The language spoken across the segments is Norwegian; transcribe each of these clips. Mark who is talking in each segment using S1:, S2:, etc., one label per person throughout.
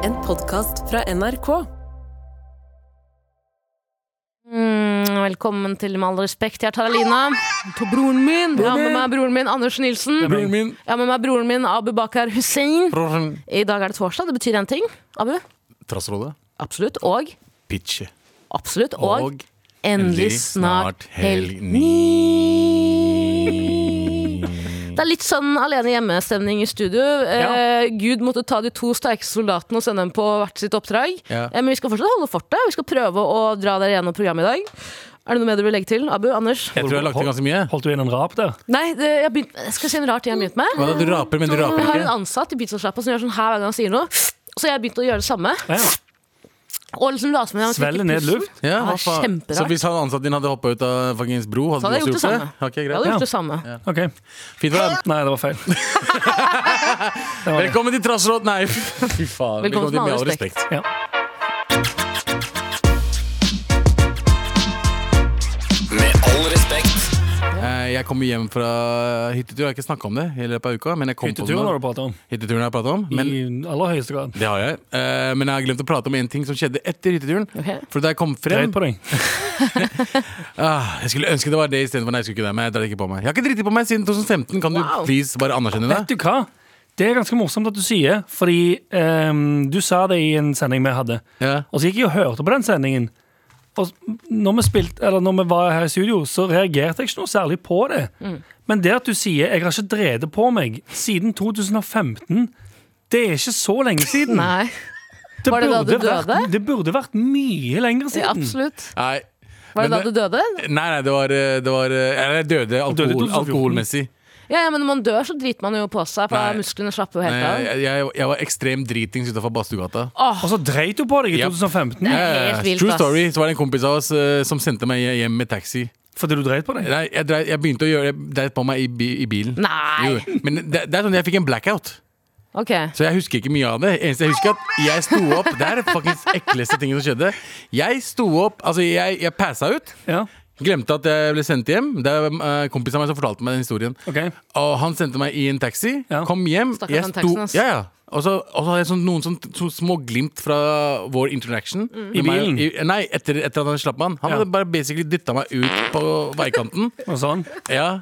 S1: podkast fra NRK.
S2: Mm, velkommen til Med all respekt. Jeg er Taralina. På broren min. Jeg har med meg broren min Anders Nilsen.
S3: Det er broren min.
S2: Jeg har med meg broren min Abu Bakar Hussein.
S3: Mm-hmm. Broren.
S2: I dag er det torsdag. Det betyr én ting. Abu.
S3: Trassrådet.
S2: Absolutt. Og
S3: Pitche.
S2: Absolutt. Og, endelig snart helg ni. Det er litt sånn alene hjemme-stemning i studio. Eh, Gud måtte ta de to sterkeste soldatene og sende dem på hvert sitt oppdrag.
S3: Ja.
S2: Eh, men vi skal fortsatt holde fortet. Vi skal prøve å dra dere gjennom programmet i dag. Er det noe mer du vil legge til? Abu? Anders?
S3: Jeg tror jeg lagde ganske mye.
S4: Holdt du inn en rap der?
S2: Nei, det, jeg, begynt, jeg skal si en rar ting jeg har begynt med.
S3: Hva da, du raper, men du
S2: Jeg
S3: raper
S2: har en
S3: ikke?
S2: ansatt i pizzasjappa som gjør sånn her hver gang han sier noe. Så jeg har begynt å gjøre det samme.
S4: Ja, ja.
S2: Og liksom late som jeg fikk i
S4: Svelge ned
S2: pusten.
S4: luft?
S3: Ja, hva
S2: Ja,
S3: faen?
S2: kjemperart.
S3: Så hvis han ansatte din hadde hoppa ut av fuckings bro,
S2: Så
S3: hadde
S2: hadde
S3: du
S2: jeg gjort
S3: også
S2: det
S3: gjort det?
S2: samme.
S3: Ok,
S2: Jeg
S3: greit.
S2: hadde
S4: Ja.
S2: gjort det samme.
S4: Ok.
S3: Fint for deg.
S4: Nei, det var feil. Det var det.
S3: Velkommen til Trassråd, nei! Fy faen.
S2: Velkommen
S3: til
S2: til
S3: Med
S2: Med
S3: all
S2: all
S3: respekt.
S4: Ja.
S5: Med all respekt.
S3: Eh, Jeg kom hjem fra hyttetur, jeg har ikke snakka om det i løpet av uka. Men jeg kom på det
S4: Hytteturen har
S3: nå.
S4: du pratet om.
S3: Hytteturen har jeg pratet om. Men
S4: I aller høyeste grad.
S3: det har jeg. Eh, Men jeg har glemt å prate om en ting som skjedde etter hytteturen.
S2: Ok.
S3: For da jeg kom frem
S4: Dreit på deg.
S3: Ah, jeg skulle ønske det var det istedenfor. Nei, jeg skulle ikke det. Men jeg dreit ikke på meg. Jeg har ikke driti på meg siden 2015. Kan
S2: Wow.
S3: du please bare anerkjenne det?
S4: Vet du hva? Det er ganske morsomt at du sier, fordi ehm, du sa det i en sending vi hadde.
S3: Ja.
S4: Og så gikk jeg og hørte på den sendingen. Og s- når vi, spilte, eller når vi var her i studio, så reagerte jeg ikke noe særlig på det. Men det at du sier 'jeg har ikke drevet på meg' siden 2015, det er ikke så lenge siden.
S2: Nei,
S4: Det
S2: Var det da du
S4: burde vært-
S2: døde?
S4: Det burde vært mye lenger
S2: ja,
S4: siden.
S2: absolutt.
S3: Nei.
S2: Var det
S3: Men
S2: da du døde?
S3: Nei, nei, det var, eh, det var eh, Eller jeg døde,
S4: Døde i
S3: alkohol,
S4: 2014.
S3: alkoholmessig.
S2: Ja, ja, men når man dør, så driter man jo på seg. For
S3: Nei.
S2: musklene slapper jo
S3: Nei,
S2: helt av.
S3: Jeg, jeg, jeg var ekstrem dritings utafor badstuegata.
S4: Og så dreit du på deg i
S3: Yep.
S4: 2015
S2: Nei.
S3: Ja,
S2: helt
S3: ja, ja.
S2: vilt,
S3: Eh, True
S2: ass.
S3: story. Så var det en kompis av oss eh, som sendte meg hjem med taxi.
S4: fordi du dreit på deg.
S3: Nei, jeg, dreit, jeg begynte å gjøre Jeg dreit på meg i, bi, i bilen.
S2: Nei!
S3: Jo, men det, det er sånn jeg fikk en blackout.
S2: Ok.
S3: Så jeg husker ikke mye av det. Eneste jeg husker, at jeg sto opp Det er faktisk ekleste tingen som skjedde. Jeg sto opp Altså, jeg, jeg passa ut.
S4: Ja,
S3: Glemte at jeg ble sendt hjem. Det er eh, kompisen av meg som fortalte meg den historien.
S4: ok
S3: Og han sendte meg i en taxi.
S4: Ja.
S3: Kom hjem.
S2: Stakkars
S3: Jeg
S2: den
S3: sto,
S2: taxien, ass.
S3: ja, ja. Og så og så hadde jeg sånn, noen sånn, så små glimt fra vår interaction.
S4: I
S3: Meg-
S4: bilen?
S3: i- nei, etter, etter at han slapp meg. Han
S4: Ja.
S3: hadde bare basically dytta meg ut på veikanten.
S4: Og sånn.
S3: Ja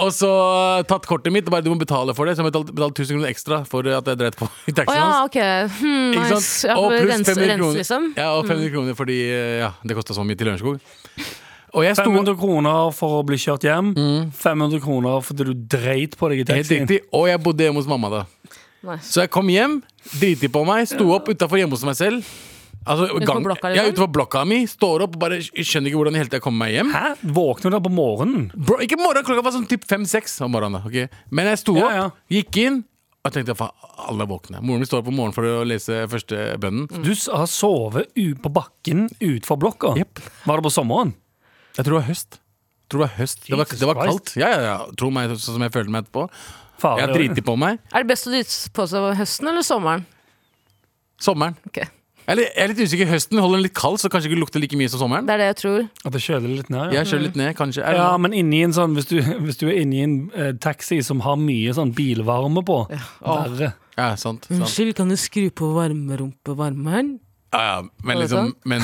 S3: Og så eh, tatt kortet mitt. og Bare, du må betale for det. Så jeg betalte betalte 1000 kroner ekstra for at jeg dreit på i
S2: Å
S3: taxien
S2: ja,
S3: hans.
S2: ok. Hmm,
S3: Ikke sant?
S2: nice. Ja,
S3: og
S2: for
S3: pluss
S2: rens,
S3: 500
S2: rens,
S3: kroner.
S2: liksom.
S3: Ja, og 500 kroner fordi eh, ja, det kosta så mye til Lørenskog. Og jeg sto
S4: 500 kroner for å bli kjørt hjem. 500 kroner fordi du dreit på deg i
S3: Helt
S4: taxien.
S3: riktig. Og jeg bodde hjemme hos mamma da.
S2: Nice.
S3: Så jeg kom hjem, driti på meg, sto opp utafor hjemme hos meg selv. Altså, gang,
S2: blokka, liksom?
S3: jeg er utenfor blokka mi, står opp og bare skjønner ikke hvordan i hele tatt jeg kommer meg hjem.
S4: Hæ? Våkner du da på morgenen?
S3: Bro, ikke morgen, klokka var sånn typ fem-seks om morgenen. da, ok? Men jeg sto opp,
S4: Ja, ja.
S3: gikk inn, og jeg tenkte faen, alle er våkne. Moren min står opp om morgenen for å lese første bønnen.
S2: Mm.
S4: Du s- har sovet u på bakken utenfor blokka. Var det på sommeren?
S3: Jeg tror det var høst. Jeg tror det var høst. Det var,
S4: Jesus
S3: det var kaldt.
S4: Christ.
S3: Ja, ja, ja. Tro meg, sånn som jeg følte meg etterpå.
S4: Faen,
S3: Jeg har driti på meg.
S2: Er det best å drite på seg høsten eller sommeren?
S3: Sommeren.
S2: Ok.
S3: Eller, jeg er litt usikker. Høsten holder den litt kald, så kanskje ikke lukter like mye som sommeren.
S2: Det er det jeg tror.
S4: At det kjøler litt ned? Ja.
S3: Jeg kjører litt ned, kanskje. Er det
S4: Ja,
S3: noe?
S4: men inni en sånn, hvis du, hvis du er inni en eh, taxi som har mye sånn bilvarme på Verre.
S3: ja, sant. sant.
S2: Unnskyld, kan du skru på varmerumpevarmeren?
S3: Ja, ja,
S2: Var
S3: men
S2: det
S3: liksom Men,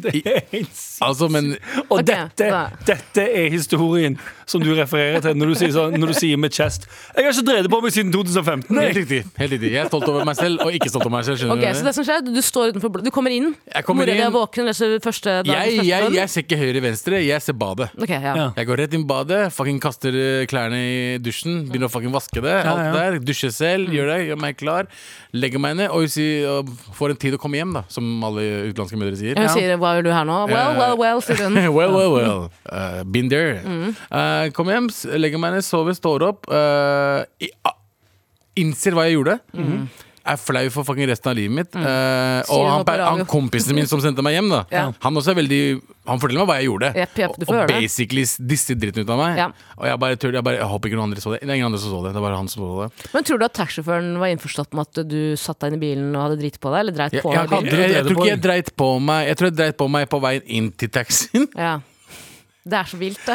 S4: Det er helt sykt.
S3: altså, men
S4: Og
S2: Ok,
S4: dette,
S2: da.
S4: dette er historien som du refererer til når du sier, sånn, når du sier med chest Jeg har ikke drevet på meg siden 2015.
S3: Helt
S4: jeg.
S3: riktig. helt riktig Jeg er stolt over meg selv, og ikke stolt over meg selv. Skjønner
S2: Ok, så
S3: du
S2: det som skjer, du, du står utenfor blå- Du kommer inn.
S3: Jeg kommer
S2: Mora di er
S3: inn.
S2: våken og leser første dagens
S3: Jeg,
S2: første
S3: jeg,
S2: bønn.
S3: jeg ser ikke høyre-venstre, jeg ser badet.
S2: Ok, ja.
S4: Ja.
S3: Jeg går rett inn i badet, fucking kaster eh, klærne i dusjen, begynner å fucking vaske det. Alt
S4: ja. Mm.
S3: der, Dusjer selv, gjør det, gjør meg klar. Legger meg ned og, si- og får en tid å komme hjem, da, som alle utenlandske mødre sier.
S2: Hun sier 'hva gjør du her nå?' Well,
S3: Eh.
S2: well, well, sier hun. Mm.
S3: Well, well, well. Uh, been there. Uh, kom hjem, s- legger meg ned, sover, står opp. Uh, i, a- innser hva jeg gjorde. Er flau for fucking resten av livet mitt. Uh,
S2: Mm. Sier
S3: og
S2: det
S3: han,
S2: på
S3: per-
S2: radio.
S3: han kompisen min som sendte meg hjem, da.
S2: Ja.
S3: Han også er veldig Han forteller meg hva jeg gjorde.
S2: Jepp, jepp, du
S3: og
S2: får gjøre
S3: og
S2: det.
S3: basically s- disser dritten ut av meg.
S2: Ja.
S3: Og jeg bare tør, jeg bare jeg håper ikke noen andre så det. Det er ingen andre som så det. Det er bare han som så det.
S2: Men tror du at taxisjåføren var innforstått med at du satt deg inn i bilen og hadde dritt på deg? Eller dreit
S3: Jeg,
S2: på
S3: jeg,
S2: deg i
S3: jeg,
S2: bilen?
S3: jeg, jeg tror
S4: på
S3: ikke jeg dreit på meg Jeg tror jeg dreit på meg på veien inn til taxien.
S2: Ja. Det er så vilt, det.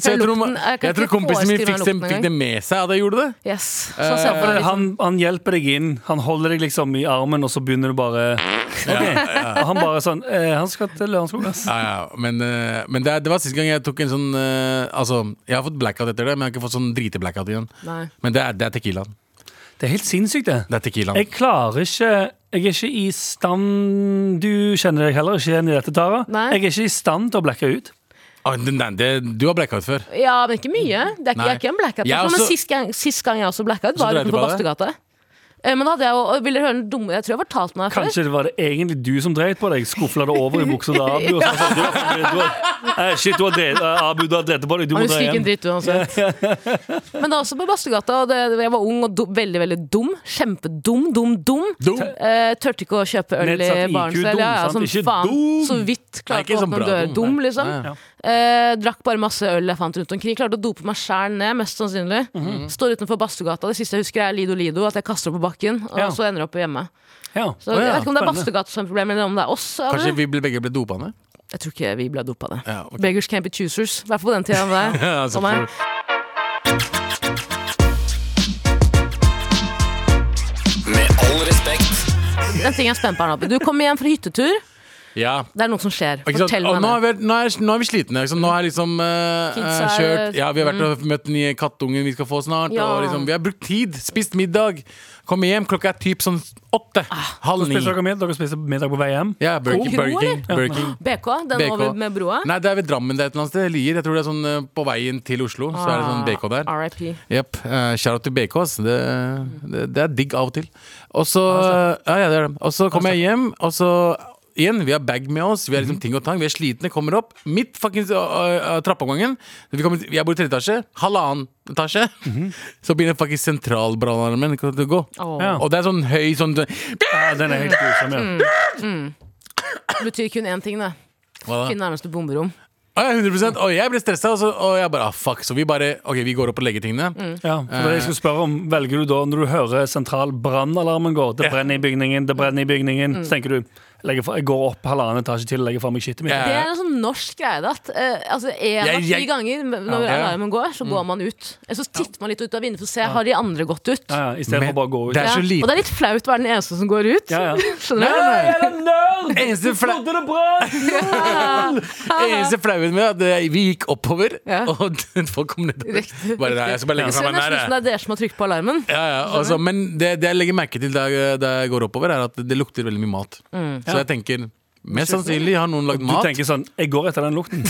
S3: Så jeg tror,
S2: lukten- jeg kan
S3: jeg tror
S2: ikke
S3: kompisen min
S2: forestille
S3: fikk,
S2: meg
S3: det-
S2: lukten
S3: fikk det med seg at jeg gjorde det.
S2: Yes. Så han ser på det liksom.
S4: Han, han hjelper deg inn. Han holder deg liksom i armen, og så begynner du bare Ok. Og han bare sånn eh, Han skal til Lørenskog, ass.
S3: Ja, ja, men eh, men det, er- det var siste gang jeg tok en sånn eh, Altså, jeg har fått blackout etter det, men jeg har ikke fått sånn drite-blackout igjen.
S2: Nei.
S3: Men det er, det er tequilaen.
S4: Det er helt sinnssykt, det.
S3: Det er tequilaen.
S4: Jeg klarer ikke Jeg er ikke i stand Du kjenner deg heller ikke igjen i dette, Tara.
S2: Nei.
S4: Jeg er ikke i stand til å blacke ut.
S3: Ah, den- den- det, du har blackout før.
S2: Ja, men ikke mye. Det er ikke,
S3: Nei.
S2: jeg er ikke en blackout.
S3: Jeg
S2: person,
S3: også-
S2: Men sist gang, sist gang jeg også blackout, var
S3: dreide
S2: ute
S3: du
S2: på
S3: på deg?
S2: Bastugata. Eh, Men da hadde jeg jo og Vil dere høre den dumme Jeg tror jeg fortalte meg det før.
S4: Kanskje det var det egentlig du som dreit på deg? Skufla det over i buksa til Abu? Og så sa du, du, har- eh, shit, du har dreid, eh, Abu, du har dreid på deg. Du må
S2: Han
S4: dra
S2: husker ikke en
S4: igjen.
S2: dritt uansett. Men da også på Bastugata. Og det, jeg var ung og do, veldig veldig dum. Kjempedum, dum, dum.
S3: Dum!
S2: Eh, tørte ikke å kjøpe øl i
S4: Nedsatt IQ,
S2: baren selv. Ja, ja,
S4: dum, sant?
S2: som
S4: Ikke
S2: faen.
S3: dum!
S2: Så vidt
S3: Nei,
S2: klarte å
S3: ikke
S2: åpne
S3: sånn
S2: en
S3: bra
S2: dør. Dum,
S3: dum, nei.
S2: liksom.
S3: Ja, ja.
S2: Eh, drakk bare masse øl jeg fant rundt omkring. Klarte å dope meg sjæl ned, mest sannsynlig.
S3: Mhm.
S2: Står utenfor Bastugata. Det siste jeg husker, er Lido Lido. At jeg kaster opp på bakken, og
S4: Ja.
S2: så ender jeg opp hjemme.
S4: Ja.
S2: Så jeg vet ikke om det er
S4: Spennende.
S2: Bastugata som er problemet, eller om det er oss. eller?
S3: Kanskje vi ble, begge ble dopa ned?
S2: Jeg tror ikke vi ble dopa det.
S3: Ja, ok.
S2: Beggars can't be choosers. I hvert fall på den tida. med deg.
S3: Ja,
S2: Og meg.
S3: selvfølgelig.
S5: Med all respekt.
S2: En ting jeg er spent på, Arnabi. Du kommer hjem fra hyttetur.
S3: Ja.
S2: Det er noe som skjer.
S3: Ikke sant?
S2: Fortell
S3: Og
S2: meg
S3: nå, er
S2: det.
S3: vi, nå, er, nå er vi slitne. Liksom. Nå har jeg liksom eh,
S2: Kids
S3: eh,
S2: er- Mm.
S3: kjørt Ja, vi har vært og møtt den nye kattungen vi skal få snart.
S2: Ja.
S3: Og liksom, vi har brukt tid. Spist middag. Kommer hjem, klokka er typ sånn åtte.
S2: Ah.
S3: halv ni.
S4: Spiser dere middag? Dere spiser middag på vei hjem?
S3: Ja, Burger King.
S2: Kro,
S3: Burger King,
S2: eller?
S3: Burger King.
S2: BK, den
S3: BK.
S2: over med broa.
S3: Nei, det er ved Drammen det er et eller annet sted. Lier. Jeg tror det er sånn eh, på veien til Oslo. Så er det
S2: Ah.
S3: sånn BK der.
S2: RIP.
S3: Jepp. Uh, Shout-out til BK. ass. Det, det, det er digg av og til. Og så ja, ja, det er det. Og så kommer jeg hjem, og så Igjen, Vi har bag med oss, vi har
S4: Mhm.
S3: liksom ting og tang, vi er slitne. Kommer opp midt fuckings øh, øh, trappeoppgangen. Vi kommer, jeg bor i tredje etasje. Halvannen etasje.
S4: Mhm.
S3: Så begynner fuckings sentralbrannalarmen ikke sant, å gå.
S2: Åh.
S4: Ja.
S3: Og det er sånn høy sånn
S4: Ja, den er helt grusom,
S2: Mm.
S4: ja.
S2: Det betyr kun én ting, det.
S3: Hva da?
S2: Finn nærmeste bomberom.
S3: Å, Ah, ja, 100 Og jeg ble stressa, og, så- og jeg bare ah, fuck. Så vi bare OK, vi går opp og legger tingene.
S2: Mm.
S4: ja. For det jeg skulle spørre om, Velger du da, når du hører sentral brannalarmen gå Det brenner i bygningen, det brenner i bygningen,
S2: Mm.
S4: så tenker du legger fra, jeg går opp halvannen etasje til og legger fra meg skittet mitt.
S3: Ja.
S2: Det er en sånn norsk greie. da, At, eh, altså, en
S3: Jeg-
S2: av ti
S3: jeg-
S2: ganger når
S3: Ja. Mm.
S2: alarmen går, så går man ut. Eller så titter man litt ut av vinduet for å se har de andre gått ut.
S4: Ja, ja, I stedet
S3: Men
S4: for bare å gå ut.
S3: det er
S2: Ja.
S3: så lite.
S2: Og det er litt flaut å være den eneste som går ut.
S4: Ja, ja.
S2: Skjønner du?
S3: Eneste fla-
S4: det brant!
S3: Eneste flauen med at eh, vi gikk oppover,
S2: Ja.
S3: og folk kom nedover.
S2: Riktig.
S3: Bare, nei, jeg skal bare legge
S2: Så
S3: fra
S2: det er
S3: meg
S2: nesten sånn
S3: den her,
S2: som det er
S3: jeg.
S2: dere som har trykt på alarmen.
S3: Ja, ja, altså, men det, det jeg legger merke til da jeg, da jeg går oppover, er at det lukter veldig mye mat.
S2: Mm.
S3: Så jeg tenker mest sannsynlig har noen lagd
S4: Du
S3: mat.
S4: tenker sånn Jeg går etter den lukten.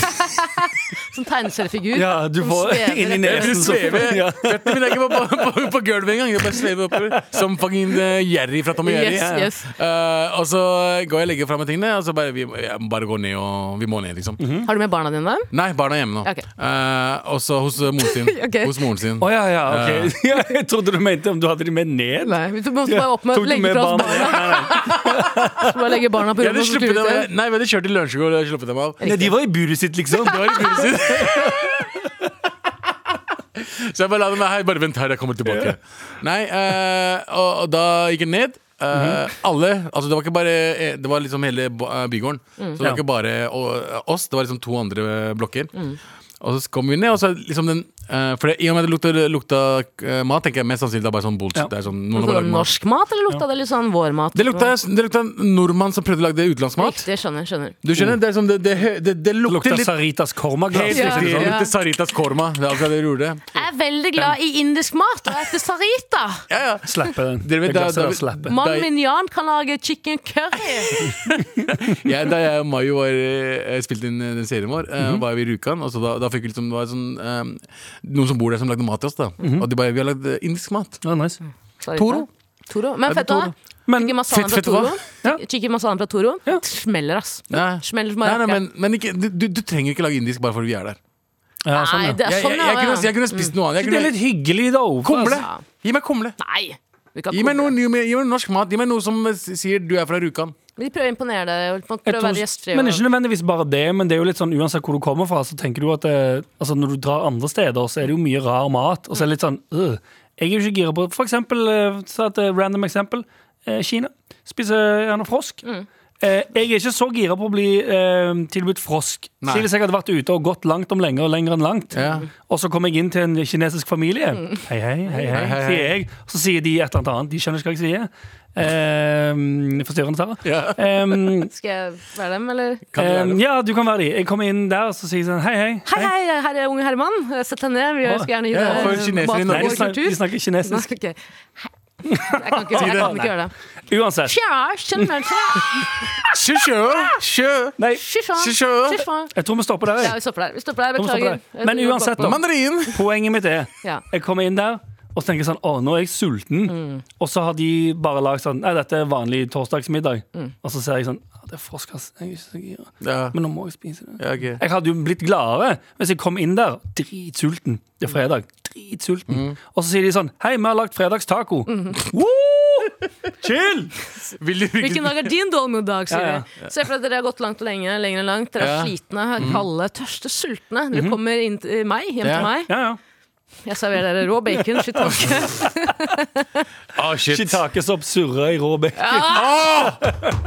S2: Som tegneseriefigur.
S4: Ja, du får
S2: svever
S4: inn i
S2: etter.
S4: nesen.
S3: Du svever.
S4: Ja.
S3: Føttene mine er ikke på, på, på, på gulvet engang. Jeg bare svever oppover som fucking eh, Jerry fra Tom og Jerry.
S2: Yes,
S3: Ja, ja.
S2: yes.
S3: Eh, og så går jeg og legger fra meg tingene, og så bare, vi, jeg må bare gå ned og Vi må ned, liksom.
S2: Har du med barna dine?
S3: Nei, barna er hjemme nå.
S2: Ok.
S3: Eh, og så hos eh, moren sin.
S2: Ok.
S3: Hos moren sin.
S4: Å ja, ja, ok. Ja, jeg trodde du mente om du hadde de med ned.
S2: Nei, vi måtte bare opp med
S4: Tok du
S2: legge
S4: med
S2: fra oss
S4: barna?
S2: barna. Så bare legge barna på
S3: Jeg
S2: rommet og
S3: hadde
S2: så
S3: sluppet
S2: tur
S3: dem,
S2: ut.
S3: nei, vi hadde kjørt til Lørenskog og sluppet dem av.
S4: Nei, de var i buret sitt, liksom.
S3: Det var i buret sitt. Så jeg bare la dem her. Bare vent her, jeg kommer tilbake. Nei, eh, og, og da gikk jeg ned. Eh,
S4: Mhm.
S3: Alle, altså Det var ikke bare eh, Det var liksom hele bo- eh, bygården.
S2: Mm.
S3: Så det var
S4: Ja.
S3: ikke bare eh, oss, det var liksom to andre eh, blokker.
S2: Mm.
S3: Og så kom vi ned, og så liksom den eh, For det, i og med at det lukta, lukta eh, mat, tenker jeg mest sannsynlig det er bare sånn bullshit.
S4: Ja.
S3: Det er sånn, noen har
S2: Lukta det
S3: bare lagd mat.
S2: norsk mat, eller lukta det litt sånn vår mat?
S3: Det lukta, det lukta nordmann som prøvde å lage utenlandsmat.
S2: Riktig, skjønner, skjønner.
S3: Du skjønner, det, er som det, det, hø- det, det lukter
S4: Lukta
S3: litt
S4: Saritas kormaglass.
S3: Helt
S2: Mm. Ja.
S3: riktig.
S4: Liksom.
S3: Det lukter Saritas korma. Det er akkurat det du gjorde.
S2: Jeg er veldig glad i indisk mat, og jeg heter Sarita.
S3: Ja, ja.
S4: Slappe den.
S3: Dere vet,
S4: Det
S3: da-
S4: glasset
S3: da-
S4: der slappe.
S2: Mannen min Jan kan lage chicken curry.
S3: Jeg- da jeg og Mayu var, eh, spilte inn eh, den serien vår, eh,
S2: Mhm.
S3: var vi i Rjukan. Og så da, da fikk vi liksom, det var sånn, eh, noen som bor der, som lagde mat til oss. da
S2: Mhm.
S3: Og de bare 'Vi har lagd eh, indisk mat'.
S4: Ja, nice.
S2: Sarita.
S3: Toro.
S2: Toro. Men
S3: Er det
S2: fett da.
S3: Toro?
S4: Men
S2: Chicken masala
S3: fett-
S2: fra
S3: fett hva?
S2: Toro.
S4: Ja.
S2: Chicken masala fra Toro.
S4: Ja.
S2: Smeller, ass.
S3: Nei.
S2: Smeller som
S3: Nei, nei,
S2: bare
S3: men, men ikke, du, du, du trenger ikke lage indisk bare fordi vi er der.
S4: ja, sånn,
S2: Nei,
S4: ja.
S2: det er
S3: Jeg, jeg,
S2: sånn,
S3: jeg, kunne, jeg
S2: ja.
S3: kunne spist noe annet. Jeg
S4: Det er
S3: kunne,
S4: litt hyggelig, da. Ove,
S3: kumle!
S4: altså.
S3: Gi meg kumle!
S2: Nei. Vi kan
S3: Gi meg,
S2: koke.
S3: noe, ny- gi meg norsk mat. Gi meg noe som eh, sier 'du er fra Rjukan'.
S2: Vi prøver å imponere deg.
S4: Jeg
S2: Prøver å
S4: tror-
S2: være gjestfrie.
S4: Men ikke nødvendigvis bare det, men det er jo litt sånn uansett hvor du kommer fra, så tenker du at eh, altså, når du drar andre steder, så er det jo mye rar mat, og så er det litt sånn øh, Jeg er jo ikke gira på For eksempel, eh, ta et eh, random eksempel, eh, Kina. Spiser gjerne frosk. Eh, jeg er ikke så gira på å bli eh, tilbudt frosk.
S3: Nei.
S4: Si hvis jeg hadde vært ute og gått langt om lenge og lenger enn langt,
S3: Ja.
S4: og så kom jeg inn til en kinesisk familie Hei, hei, hei, hei,
S3: Hei, hei, hei.
S4: sier jeg. Og så sier de et eller annet annet. De skjønner ikke hva jeg sier. Eh, forstyrrende, Sara.
S3: Ja.
S4: Eh,
S2: Skal jeg være dem, eller?
S3: Kan du være
S2: Um,
S4: eh,
S3: det?
S4: ja, du kan være de. Jeg kommer inn der, så sier jeg sånn hei, hei.
S2: Hei, hei, her er unge Herman. Sett deg ned. Vi
S4: Å,
S2: skal gjerne gi
S3: ja, for
S2: deg
S3: kinesere
S2: mat
S3: i
S2: fra
S4: Nei,
S3: Norge
S2: vår
S4: de snakker, de
S2: kultur.
S4: snakker
S2: Nei,
S4: kinesisk.
S2: ok. Jeg kan ikke, jeg kan ikke gjøre det.
S4: Uansett.
S2: Tja, kjenner dere?
S3: Sjø, sjø, sjø.
S4: Nei,
S2: Fy faen,
S3: Sjø, sjø.
S2: fy faen.
S4: jeg tror vi stopper der.
S2: Ja,
S4: jeg.
S2: vi stopper der. Vi stopper der,
S4: Vi stopper
S2: Beklager.
S4: der. Men uansett, da.
S3: Mandarin.
S4: Poenget mitt er
S2: Ja.
S4: Jeg kommer inn der og så tenker jeg sånn, å nå er jeg sulten
S3: Mm.
S4: Og så har de bare lagt sånn Nei, dette er vanlig torsdagsmiddag
S3: Mm.
S4: Og så ser jeg sånn, «Å, det er frosk ass Jeg er ikke så gira
S3: Ja.
S4: Men nå må jeg spise det
S3: Ja, ok.
S4: Jeg hadde jo blitt gladere hvis jeg kom inn der Dritsulten, det er fredag Dritsulten
S3: Mm.
S4: Og så sier de sånn, hei, vi har lagt fredagstaco Woo! Chill
S3: Vil du
S2: Hvilken dag er din dolmedag, sier
S4: Ja, ja.
S2: vi. Se for deg at dere har gått langt og lenge, lenger enn langt. Dere er
S3: Ja.
S2: slitne, kalde, tørste, sultne. Dere kommer inn til meg, hjem
S3: Ja.
S2: til meg.
S4: Ja, ja
S2: Jeg serverer dere rå bacon. Shit, takk.
S3: Ah, shit.
S4: Shiitakesopp surrer i råbe
S3: Ah!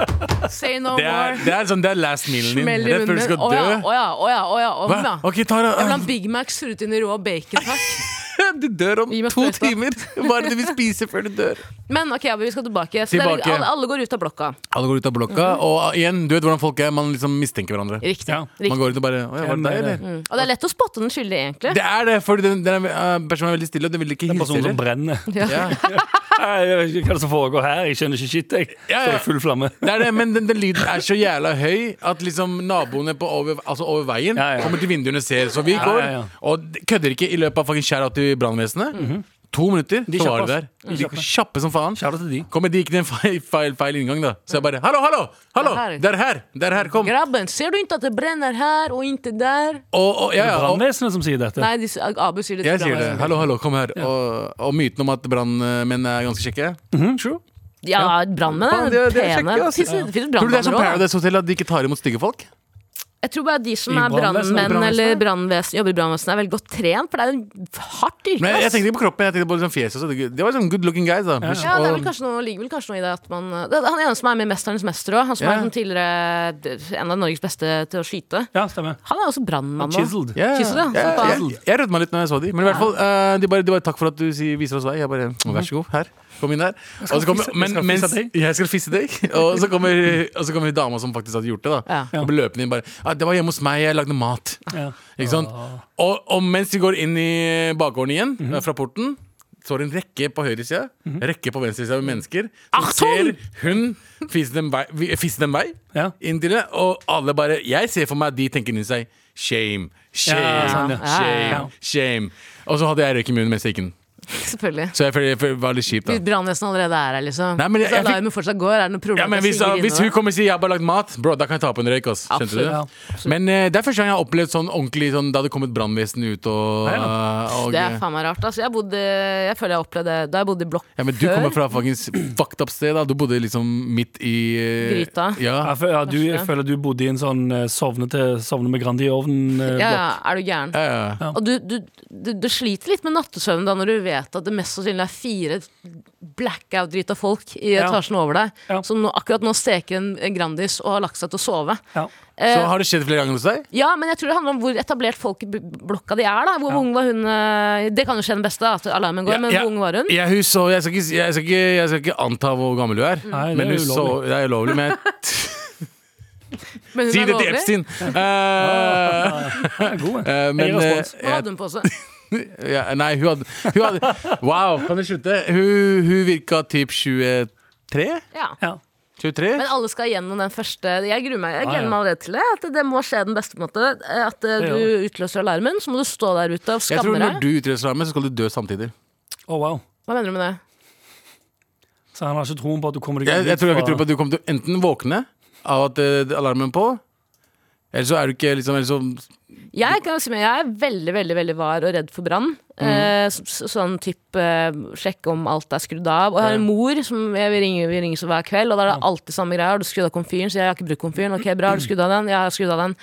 S2: Say no
S3: Det er,
S2: more.
S3: det er sånn, det er last mealen din.
S2: Smell i
S3: Rett før
S2: munnen.
S3: du skal
S2: Å ja,
S3: dø.
S2: å ja, å ja. Å ja, å
S3: Hva?
S2: ja.
S3: Ok, Tara.
S2: Jeg vil ha en Big Mac surret inn i rå bacon, takk.
S3: Du dør om
S2: Gi meg
S3: to
S2: sprøyta.
S3: timer. Hva er det du vil spise før du dør?
S2: Men ok, ja, vi skal tilbake. Så
S3: Tilbake.
S2: Dere, alle, alle går ut av blokka.
S3: Alle går ut av blokka,
S2: Mm.
S3: og igjen, du vet hvordan folk er. Man liksom mistenker hverandre.
S2: Riktig.
S4: Ja,
S3: Man
S2: Riktig.
S3: går ut og bare Å ja, var det deg, eller?
S2: Mm. Og det er lett å spotte den skyldige, egentlig.
S3: Det er det, for den, den eh, personen er veldig stille, og den vil ikke
S4: En
S3: hilse
S4: person som
S3: heller.
S4: brenner
S3: Ja.
S4: Nei, Jeg vet ikke hva som foregår her Jeg skjønner ikke shit jeg
S3: Ja, ja.
S4: Står i full flamme
S3: Det er det, men den, den lyden er så jævla høy at liksom naboene på over, altså over veien
S4: Ja, ja.
S3: kommer til vinduene og ser. Så vi
S4: Ja,
S3: går,
S4: ja, ja.
S3: og de- kødder ikke i løpet av fucking skjæra til brannvesenet. To minutter,
S4: Mhm. De
S3: så var
S4: kjappe,
S3: de der.
S4: ass. Mm.
S3: De
S4: Kjappe.
S3: kjappe som faen.
S4: Kjære til de
S3: Kommer de ikke til en feil, feil, feil inngang, da. Så jeg bare Hallo, hallo! hallo,
S2: Det er her.
S3: Det er her! Det er her, kom!
S2: Grabben, ser du ikke at det brenner her og ikke der?
S3: Og, og, ja, ja, og
S4: Brannvesenet som sier dette?
S2: Nei, de, s- Abu sier det. til
S3: jeg sier det.
S2: brannvesenet.
S3: Hallo, hallo, kom her. Og, og myten om at brannmenn er ganske kjekke.
S4: Mhm.
S3: True.
S2: Ja, brannmenn
S3: Faen,
S2: er
S3: de er- de er
S2: pene.
S3: kjekke, ass.
S2: Det finnes- det finnes
S3: Tror du det er som
S2: brannmenn også, da.
S3: Paradise Hotel at de ikke tar imot stygge folk?
S2: Jeg tror bare de som
S4: I
S2: er
S4: brannvesenet,
S2: brannmenn
S3: brannvesenet.
S2: eller brannvesen, jobber i brannvesenet, er veldig godt trent, for det er en hardt yrke.
S3: Men jeg, jeg
S2: ass.
S3: tenkte ikke på kroppen, jeg tenkte på liksom fjeset. også. Det- Det var sånn good looking guys. da
S2: Ja, det er
S3: Og-
S2: vel kanskje noe, ligger vel kanskje noe i det at man det er Han ene som er med i 'Mesterens mester' òg, han som
S3: Ja.
S2: er sånn tidligere en av Norges beste til å skyte,
S4: Ja, stemmer
S2: han er også brannmann nå.
S4: Chiseled
S3: Ja,
S2: Kysser det,
S3: ja,
S2: som faen.
S3: jeg, jeg rødma litt når jeg så de Men i hvert fall, eh, de, bare, de bare takk for at du sier, viser oss vei. Jeg bare, vær så god, her. Kom inn her. Og så kommer,
S4: fisse- jeg
S3: men,
S4: skal
S3: mens,
S4: fisse deg.
S3: jeg skal fisse deg. Og så kommer, og så kommer dama som faktisk hadde gjort det. da
S2: Ja.
S3: Og blir løpende inn bare ah, 'Det var hjemme hos meg, jeg lagde mat'.
S4: Ja. Mhm.
S3: Ikke sant? Og, og mens de går inn i bakgården igjen, eh, fra porten Står en rekke på høyresida, rekke på venstresida med mennesker. Som
S2: Achtung!
S3: ser hun fise dem vei, vi- fise dem vei
S4: Ja.
S3: inn til det, og alle bare Jeg ser for meg de tenker inni seg Shame, shame,
S4: Ja, sånn,
S2: ja.
S3: shame,
S4: Ja.
S3: shame. Og så hadde jeg røyk i munnen mens jeg gikk inn.
S2: Selvfølgelig.
S3: Så jeg føler jeg føler det var litt kjipt, da.
S2: Hvis brannvesenet allerede er her, liksom.
S3: Nei, men jeg-
S2: så
S3: jeg fikk-
S2: alarmen fortsatt går, er det noe problem?
S3: Ja,
S2: at
S3: men
S2: jeg
S3: hvis,
S2: stiger
S3: hvis
S2: innover?
S3: hun kommer og sier 'jeg har bare lagd mat', bro, da kan jeg ta på en røyk. ass Skjønte
S2: Absolutt,
S3: du?
S4: ja,
S3: Men eh, det er første gang jeg har opplevd sånn ordentlig sånn, da det kom et brannvesen ut og, og
S2: Det er faen meg rart. Altså, jeg, bodde, jeg føler jeg opplevde det da jeg bodde i blokk
S3: ja, men Du kommer fra fuckings fucked up sted. da Du bodde liksom midt i eh,
S2: Gryta.
S4: Ja,
S3: Ja,
S4: for, ja, du, jeg
S2: Verste.
S4: føler du bodde i en sånn eh, sovne, til, sovne med Grandi i ovnen. eh,
S2: Ja, ja, er
S4: blokk.
S2: du gæren?
S3: ja, ja.
S4: Ja.
S2: Og du, du, du, du sliter litt med nattesøvn da når du vet at det mest sannsynlig er fire blackout-drita folk i
S4: Ja.
S2: etasjen over deg,
S4: Ja.
S2: som nå, akkurat nå steker en en Grandis og har lagt seg til å sove.
S4: Ja.
S3: Så
S2: Eh,
S3: har det skjedd flere ganger hos deg?
S2: ja, men jeg tror det handler om hvor etablert folk i b- blokka de er. da Hvor ung var hun eh, Det kan jo skje den beste, da, at alarmen går,
S3: Ja,
S2: men
S3: ja.
S2: hvor ung var hun?
S3: Jeg, hun så, jeg, skal ikke, jeg, skal ikke, jeg skal ikke anta hvor gammel du er.
S2: Mm.
S4: Nei, det
S3: men
S4: er
S3: hun så,
S4: ulovlig.
S3: det er ulovlig. Men jeg
S2: Men hun
S3: si
S2: er
S3: det til
S2: lovlig.
S3: Epstein! Eh,
S4: Ja, god, jeg.
S3: eh, men
S4: Jeg gir respons.
S2: Hva
S3: eh,
S2: hadde hun på seg?
S3: jeg- ja, Nei, hun hadde, hun hadde Wow, kan du slutte? Hun, hun virka typ 23?
S2: Ja.
S4: Ja.
S3: 23?
S2: Men alle skal gjennom den første Jeg gruer meg, jeg
S4: Ja,
S2: gleder
S4: ja.
S2: meg allerede til det. At det må skje den beste på en måte. At eh,
S4: Det
S2: du utløser alarmen, så må du stå der ute og
S3: Jeg tror
S2: skamme
S3: når
S2: deg.
S3: du utløser armen, så skal du dø samtidig.
S4: Å, Oh, wow.
S2: Hva mener du med det?
S4: Så han har ikke troen på at du kommer deg
S3: Jeg, jeg
S4: ut
S3: tror jeg
S4: fra-
S3: ikke tror på at du kommer til å enten våkne av at eh, alarmen er på, eller så er du ikke liksom, eller så,
S2: Jeg, kan si meg, jeg er veldig veldig, veldig var og redd for brann. Eh, så- så- sånn type eh, sjekke om alt er skrudd av. Og jeg har en mor som jeg, vi ringer, vi ringer så hver kveld, og da er det alltid samme greia. Har du skrudd av komfyren? Så jeg har ikke brukt komfyren. Ok, bra, har du skrudd av den? Ja, jeg har skrudd av den.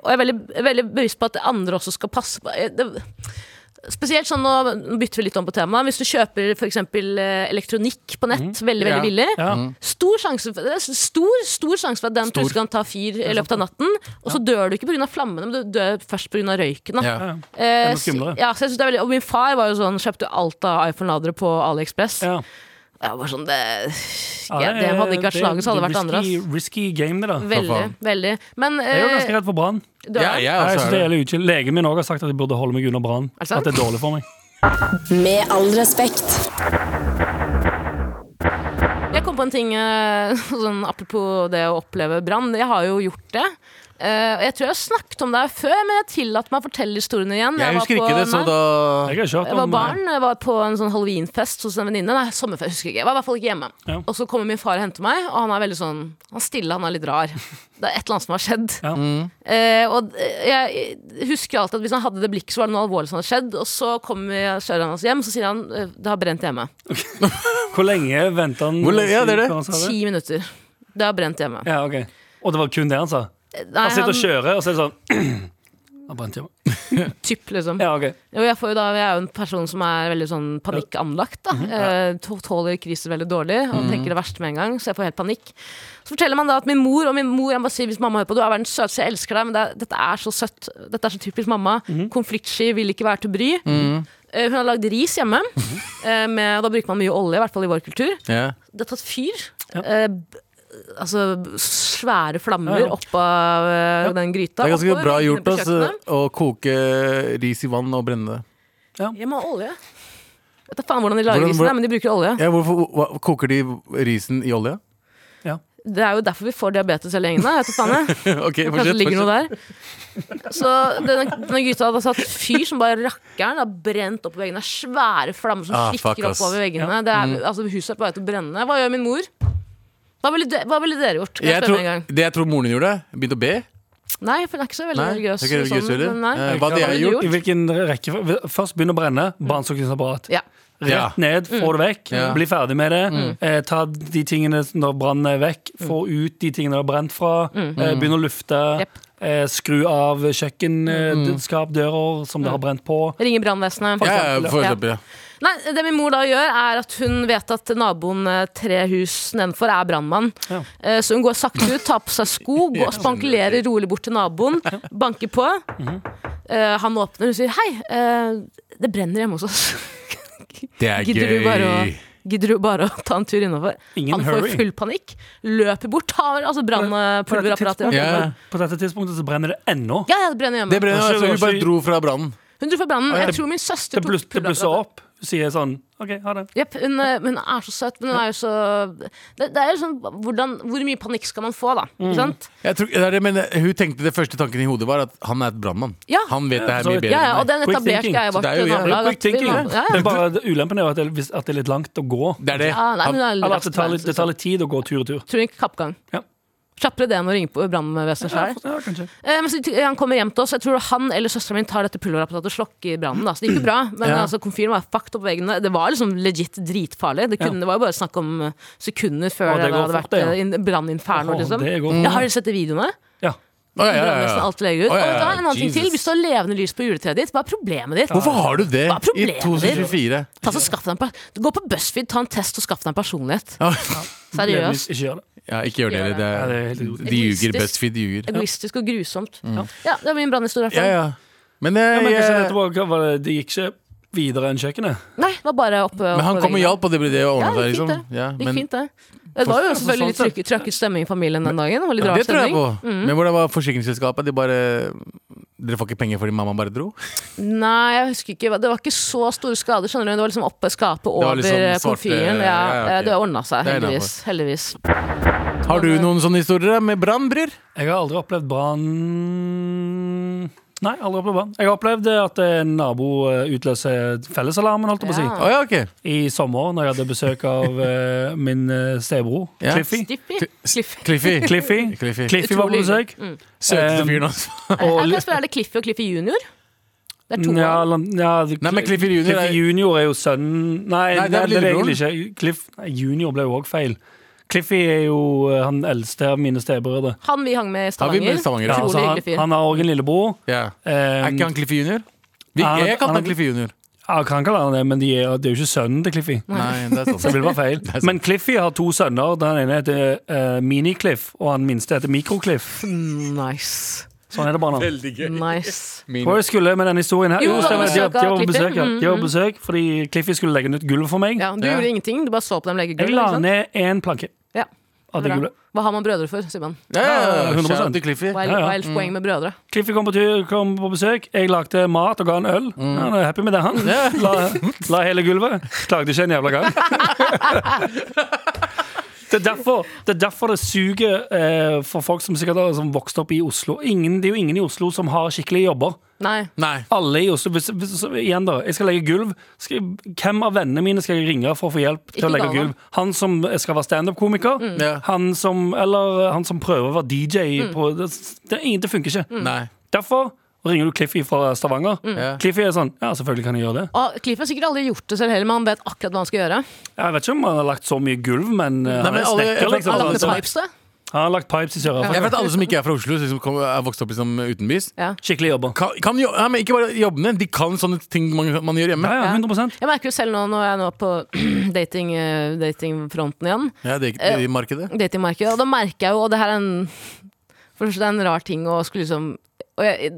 S2: Og jeg er veldig, veldig bevisst på at andre også skal passe på. Jeg- Eh, Det, Spesielt sånn, nå nå bytter vi litt om på temaet. Hvis du kjøper f.eks. elektronikk på nett, veldig veldig
S4: Ja.
S2: billig,
S4: Ja.
S2: stor sjanse for, det er stor, stor sjanse for at den
S3: Stor.
S2: plutselig kan ta fyr i løpet av natten. Og så dør du ikke pga. flammene, men du dør først pga. røyken. Da.
S3: Ja.
S4: Ja.
S2: Eh,
S4: noe skumlere.
S2: s- ja, så jeg synes det er veldig, og min far var jo sånn, kjøpte jo alt av iPhone-ladere på AliExpress.
S4: Ja.
S2: Jeg var sånn, det,
S4: Ja, eh,
S2: ja, det hadde ikke vært
S4: det-
S2: slaget, så hadde det vært andre.
S4: risky,
S2: ass.
S4: risky game, det da.
S2: Veldig,
S3: faen.
S2: veldig. Men
S4: Jeg er jo
S2: eh,
S4: ganske redd for brann.
S2: du
S3: Ja,
S2: er-
S3: jeg
S4: Jeg
S3: også
S4: synes
S3: er
S4: det
S3: det.
S4: gjelder jo ikke. Legen min også har sagt at jeg burde holde meg unna brann.
S2: det sant?
S4: At det er dårlig for meg.
S1: Med all respekt.
S2: Jeg kom på en ting eh, sånn, apropos det å oppleve brann. Jeg har jo gjort det. Eh, og jeg tror jeg har snakket om det her før, men jeg tillater meg å fortelle historien igjen.
S3: Jeg
S2: var
S3: husker
S2: på-
S3: ikke det, så
S2: Nei.
S3: da
S4: Jeg har kjørt eh,
S2: Jeg var barn, jeg var på en sånn halloweenfest hos en venninne. Nei, sommerfest, husker jeg ikke. Jeg var i hvert fall ikke hjemme.
S4: Ja.
S2: Og så kommer min far og henter meg, og han er veldig sånn Han er stille, han er litt rar. Det er et eller annet som har skjedd.
S4: Ja.
S2: Eh, og jeg husker alltid at hvis han hadde det blikket, så var det noe alvorlig som hadde skjedd. Og så kommer kjøreren hans hjem, og så sier han eh, det har brent hjemme.
S4: Hvor lenge venta han?
S3: Hvor lenge- ja, det er det.
S4: før han sa
S2: Ti minutter. Det har brent hjemme.
S4: Ja, ok Og det var kun det han sa?
S2: Nei,
S4: Han sitter og
S2: han-
S4: kjører, og så er det sånn Han brant hjemme.
S2: Typ, liksom.
S4: Ja, ok
S2: Jo, jeg, får jo da, jeg er jo en person som er veldig sånn panikkanlagt. Da.
S3: Mhm.
S2: Eh, tå- Tåler kriser veldig dårlig og tenker det verste med en gang. Så jeg får helt panikk. Så forteller man da at min mor og min mor, jeg må si hvis mamma hører på, du er verdens søteste, jeg elsker deg, men det, er- dette er så søtt. Dette er så typisk mamma.
S3: Mhm.
S2: Konfliktsky, vil ikke være til bry. Eh, Hun har lagd ris hjemme,
S3: Mhm.
S2: eh, med, og da bruker man mye olje, i hvert fall i vår kultur.
S3: ja.
S2: Det har tatt fyr.
S4: Ja.
S2: Eh, b- altså b- svære flammer
S4: Ja, ja.
S2: opp av eh,
S4: Ja.
S2: den gryta.
S3: Det er ganske
S2: oppover,
S3: bra
S2: inne
S3: gjort
S2: på
S3: altså. oss
S2: kjøkkenet.
S3: å koke ris i vann og brenne det.
S2: Jeg må ha olje. Jeg vet da faen hvordan de lager
S3: Hvordan-
S2: risen, her, men de bruker olje.
S3: Ja, hvorfor hva, Koker de risen i olje?
S2: Det er jo derfor vi får diabetes hele gjengen. da, Jeg vet da faen jeg.
S3: Ok,
S2: Kanskje
S3: fortsett,
S2: det ligger
S3: fortsett.
S2: noe der. Så denne, denne gutta hadde satt fyr som bare rakkeren. Har brent opp i veggene. Det er Svære flammer som
S3: Ah, fuck,
S2: stikker
S3: ass. Mm.
S2: oppover veggene. Det er, altså, huset er på vei til å brenne. Hva gjør min mor? Hva ville, de, hva ville dere gjort? Kan jeg
S3: Jeg
S2: spørre
S3: tror,
S2: med en gang?
S3: det jeg tror moren din gjorde, begynte å be.
S2: Nei, for hun er ikke så veldig
S3: Nei,
S2: religiøs.
S3: ikke religiøs
S2: sånn,
S3: heller.
S2: men nei.
S3: Eh, hva hadde jeg
S2: ville du
S3: gjort?
S4: I hvilken rekke Først begynn å brenne, brannsukkingsapparat.
S2: Ja.
S3: Ja.
S4: Rett ned, få
S2: Mm.
S4: det vekk,
S3: Ja.
S4: bli ferdig med det. Eh, ta de tingene når brannen er vekk,
S2: Mm.
S4: få ut de tingene det har brent fra. Eh, begynn å lufte.
S2: Jepp. Mm.
S4: Eh, skru av kjøkkenskapdører som det har brent på.
S2: Ringe brannvesenet.
S3: Ja, ja,
S4: eksempel,
S3: for
S2: ja.
S3: eksempel, ja.
S2: Nei, det min mor da gjør er at hun vet at naboen eh, tre hus nedenfor er brannmann.
S4: Ja.
S2: Eh, Så hun går sakte ut, tar på seg sko, går og spankulerer rolig bort til naboen, banker på.
S4: Mhm.
S2: Eh, Han åpner og sier 'hei, eh, det brenner hjemme hos oss'.
S3: Det er
S2: Gidder du bare å
S3: gøy.
S2: Gidder du bare å ta en tur innover?
S4: Ingen
S2: Han får
S4: hurry.
S2: full panikk, løper bort, tar altså
S4: På dette,
S2: brannpulverapparatet.
S4: tidspunktet,
S2: Ja,
S3: Ja.
S4: på dette tidspunktet så brenner det ennå.
S2: ja, det brenner hjemme.
S3: Det brenner, altså, hun bare dro fra brannen.
S2: Hun dro for brannen. Jeg
S4: Det-
S2: tror min søster
S4: Det
S2: tok
S4: blus- det blusser
S2: pulverapparatet.
S4: opp. Du sier sånn OK, ha det.
S2: Jepp, hun, eh, hun er så søt, men hun er jo så Det, det er jo sånn hvordan, Hvor mye panikk skal man få, da? Ikke
S4: Mm.
S2: sant?
S3: Jeg tror, det er det, men hun tenkte det første tanken i hodet var at han er et brannmann.
S2: Ja.
S3: Han vet det her
S4: for så
S3: mye bedre
S4: vidt.
S2: Ja, ja, og
S3: enn meg.
S2: den
S4: Quick
S2: etablerte
S4: thinking.
S2: jeg
S3: Så
S2: vårt
S3: det er jo jævlig
S2: nabolag.
S4: Quick
S2: at vi
S4: thinking.
S2: må- Ja,
S4: Det
S2: ja.
S4: er bare det- Ulempen er jo at det, hvis, at det er litt langt å gå.
S3: Det er det.
S2: Ja, nei, men
S3: Han,
S2: hun er
S4: Eller at
S2: raskt
S4: det tar
S2: på
S4: litt,
S2: vei,
S4: det tar
S2: liksom.
S4: litt tid å gå tur og tur.
S2: Tror ikke kappgang.
S4: Ja.
S2: Kjappere det enn å ringe på brannvesenet
S4: Ja,
S2: sjøl.
S4: kanskje.
S2: Eh, men så t- han kommer hjem til oss. Jeg tror han eller søstera mi tar dette pulverapparatet og slokker brannen. Da. Så det gikk jo bra. Men
S3: Ja.
S2: altså, komfyren var fucked opp på veggene. Det var liksom legit dritfarlig. Det, kunne, det var jo bare snakk om eh, sekunder før
S4: Ja,
S2: det,
S4: det går
S2: hadde
S4: fort,
S2: vært
S4: det, ja.
S2: eh, in- branninferno.
S4: Å,
S2: Liksom.
S4: det går fort.
S2: Ja, har dere sett de videoene?
S4: Ja.
S3: Å, ja, ja,
S2: Brannvesenet
S3: ja.
S2: alt legger ut.
S3: Å, ja,
S2: Og vet du hva,
S3: ja,
S2: en annen ting til.
S3: Jesus.
S2: Hvis du har levende lys på juletreet ditt, hva er problemet ditt?
S3: Hvorfor har du det
S2: Hva er
S3: i
S2: problemet?
S3: 2024?
S2: Ta så skaff deg en per- Gå på BuzzFeed, ta en test og skaff deg en personlighet.
S3: Ja.
S2: Seriøst.
S4: Ikke gjør det.
S3: Ja, ikke gjør det.
S2: Gjør det.
S3: det
S4: Ja, det er
S3: er,
S4: helt idiotisk.
S3: de ljuger.
S2: Egoistisk.
S3: BuzzFeed ljuger.
S2: Egoistisk og grusomt. Ja, det var min brannhistorie.
S3: Mm. Ja,
S2: Ja,
S3: ja. Men, eh,
S4: Ja, men kanskje dette
S3: jeg,
S4: var, hva var det, det gikk ikke videre enn kjøkkenet?
S2: Nei, det var bare oppe
S3: men han
S2: oppe
S3: kom og
S2: veggene.
S3: hjalp, og det ble det
S2: Ja,
S3: å ordne
S2: det
S3: seg.
S2: gikk
S3: Liksom.
S2: fint, det.
S3: Ja,
S2: Det gikk
S3: men,
S2: fint, det. Det var jo
S3: altså,
S2: selvfølgelig
S3: sånn
S2: litt trykket, trøkket stemme i familien den dagen. Det var litt
S3: ja,
S2: rar
S3: det tror jeg
S2: stemning. Mm.
S3: på. Men hvordan var forsikringsselskapet? De bare Dere får ikke penger fordi mamma bare dro?
S2: Nei, jeg husker ikke. Det var ikke så store skader, skjønner du. Det var liksom oppe skapet
S3: var
S2: over
S3: liksom svarte-
S2: komfyren. Ja,
S3: ja, ja, ok.
S2: Det ordna seg,
S3: Det er
S2: heldigvis. heldigvis.
S3: Har du noen sånne historier med brann, bror?
S4: Jeg har aldri opplevd brann Nei, aldri opplevd brann. Jeg har opplevd at en nabo eh, utløser fellesalarmen, holdt jeg på
S2: Ja.
S4: å si.
S3: Å ja, ok.
S4: I sommer, når jeg hadde besøk av eh, min eh, stebror
S3: Ja.
S4: Cliffy.
S2: Stippy. Cliffy.
S3: Cliffy.
S4: Cliffy.
S3: Cliffy.
S4: Cliffy var på
S2: Utrolig Mm.
S4: besøk.
S3: Søteste
S4: Um,
S3: fyren, altså.
S4: Og
S2: Jeg
S4: li-
S2: kan spørre, Er det Cliffy og Cliffy junior? Det er to.
S4: ja,
S2: av dem.
S4: la- ja,
S3: Nei, men Cliffy Junior er-
S4: Cliffy Junior er jo sønnen Nei,
S3: Nei, det er
S4: det,
S3: vel
S4: er det
S3: lillebroren.
S4: egentlig ikke. Cliff nei, Junior ble jo òg feil. Cliffy er jo eh, han eldste av mine stebrødre.
S2: Han vi hang med i
S3: Har vi
S2: Stavanger.
S3: med Stavanger?
S4: Ja,
S3: Ja,
S2: Utrolig
S4: altså, han,
S2: hyggelig fyr.
S4: han har òg en lillebror.
S3: ja.
S4: Eh,
S3: Er ikke han Cliffy Junior? Vi,
S4: Han er-
S3: jeg kalte
S4: han er-
S3: han Cliffy Junior.
S4: Ja, kan kalle han det, men de er, det er jo ikke sønnen til Cliffy.
S3: Nei, det er
S4: Det
S3: sånn.
S4: vil være feil. Men Cliffy har to sønner. Den ene heter eh, Mini-Cliff, og han minste heter Mikro-Cliff.
S2: Nice.
S4: Sånn er det bare nå.
S3: Veldig gøy.
S2: Nice.
S3: Min,
S4: Hvor jeg skulle med denne historien her?
S2: Jo,
S4: Jo, stemmer. De,
S2: han
S4: var- de var
S2: besøker
S4: på besøk,
S2: Cliffy.
S4: ja.
S2: Mm,
S4: De var på besøk fordi Cliffy skulle legge nytt gulv for meg.
S2: Ja, du
S3: Ja.
S2: gjorde ingenting, du bare så på dem legge
S4: Jeg
S2: gulvet.
S4: la
S2: ikke sant?
S4: ned én planke
S2: Ja,
S4: av det
S2: bra.
S4: gulvet.
S2: Hva har man brødre for, Simon?
S3: ja, ja,
S4: 100%.
S3: shout out til Cliffy.
S2: Hva er,
S4: Ja, ja.
S2: hva er poenget med brødre?
S4: Cliffy kom på, tur, kom på besøk. Jeg lagde mat og ga han øl. Han er happy med det, han. La, la hele gulvet. Klagde ikke en jævla gang. Det er, derfor, det er derfor det suger eh, for folk som sikkert har som vokst opp i Oslo. Ingen, det er jo ingen i Oslo som har skikkelige jobber.
S2: Nei.
S3: Nei.
S4: Alle i Oslo, hvis, hvis, så, igjen da, Jeg skal legge gulv. Skal, jeg- hvem av vennene mine skal jeg ringe for å få hjelp
S2: Ikke Mm.
S4: til å legge
S2: Galvan.
S4: gulv? Han som skal være standup-komiker?
S3: Ja.
S4: Han som, eller han som prøver å være DJ
S2: Mm.
S4: på Det, det, er ingen- det funker ikke.
S3: Nei.
S4: Derfor ringer du Cliffy fra Stavanger.
S2: Mm.
S3: Ja.
S4: Cliffy er sånn Ja, selvfølgelig kan jeg gjøre det.
S2: Og Cliff har sikkert aldri gjort det selv heller, men han vet akkurat hva han skal gjøre.
S4: Jeg vet ikke om han har lagt så mye gulv, men uh, han
S3: men
S4: er
S3: alle-
S4: snekker, liksom.
S2: Han
S3: alle-
S4: Han,
S2: lagde
S3: sånn-
S2: pipes, det.
S4: har lagt pipes i
S3: Jeg
S4: Sør-Afrika.
S3: vet at alle som ikke er fra Oslo, som kom, er vokst opp liksom, utenbys,
S2: Ja.
S4: Skikkelig jobber.
S3: kan, kan jo, ja, men ikke bare jobbene, de kan sånne ting man, man gjør hjemme.
S4: Ja, ja, 100
S2: Jeg merker jo selv nå når jeg er nå på dating, eh, datingfronten igjen,
S3: Ja, det er ikke i markedet.
S2: datingmarkedet, og da merker jeg jo Og det her er en For det første, det er en rar ting å skulle liksom og jeg,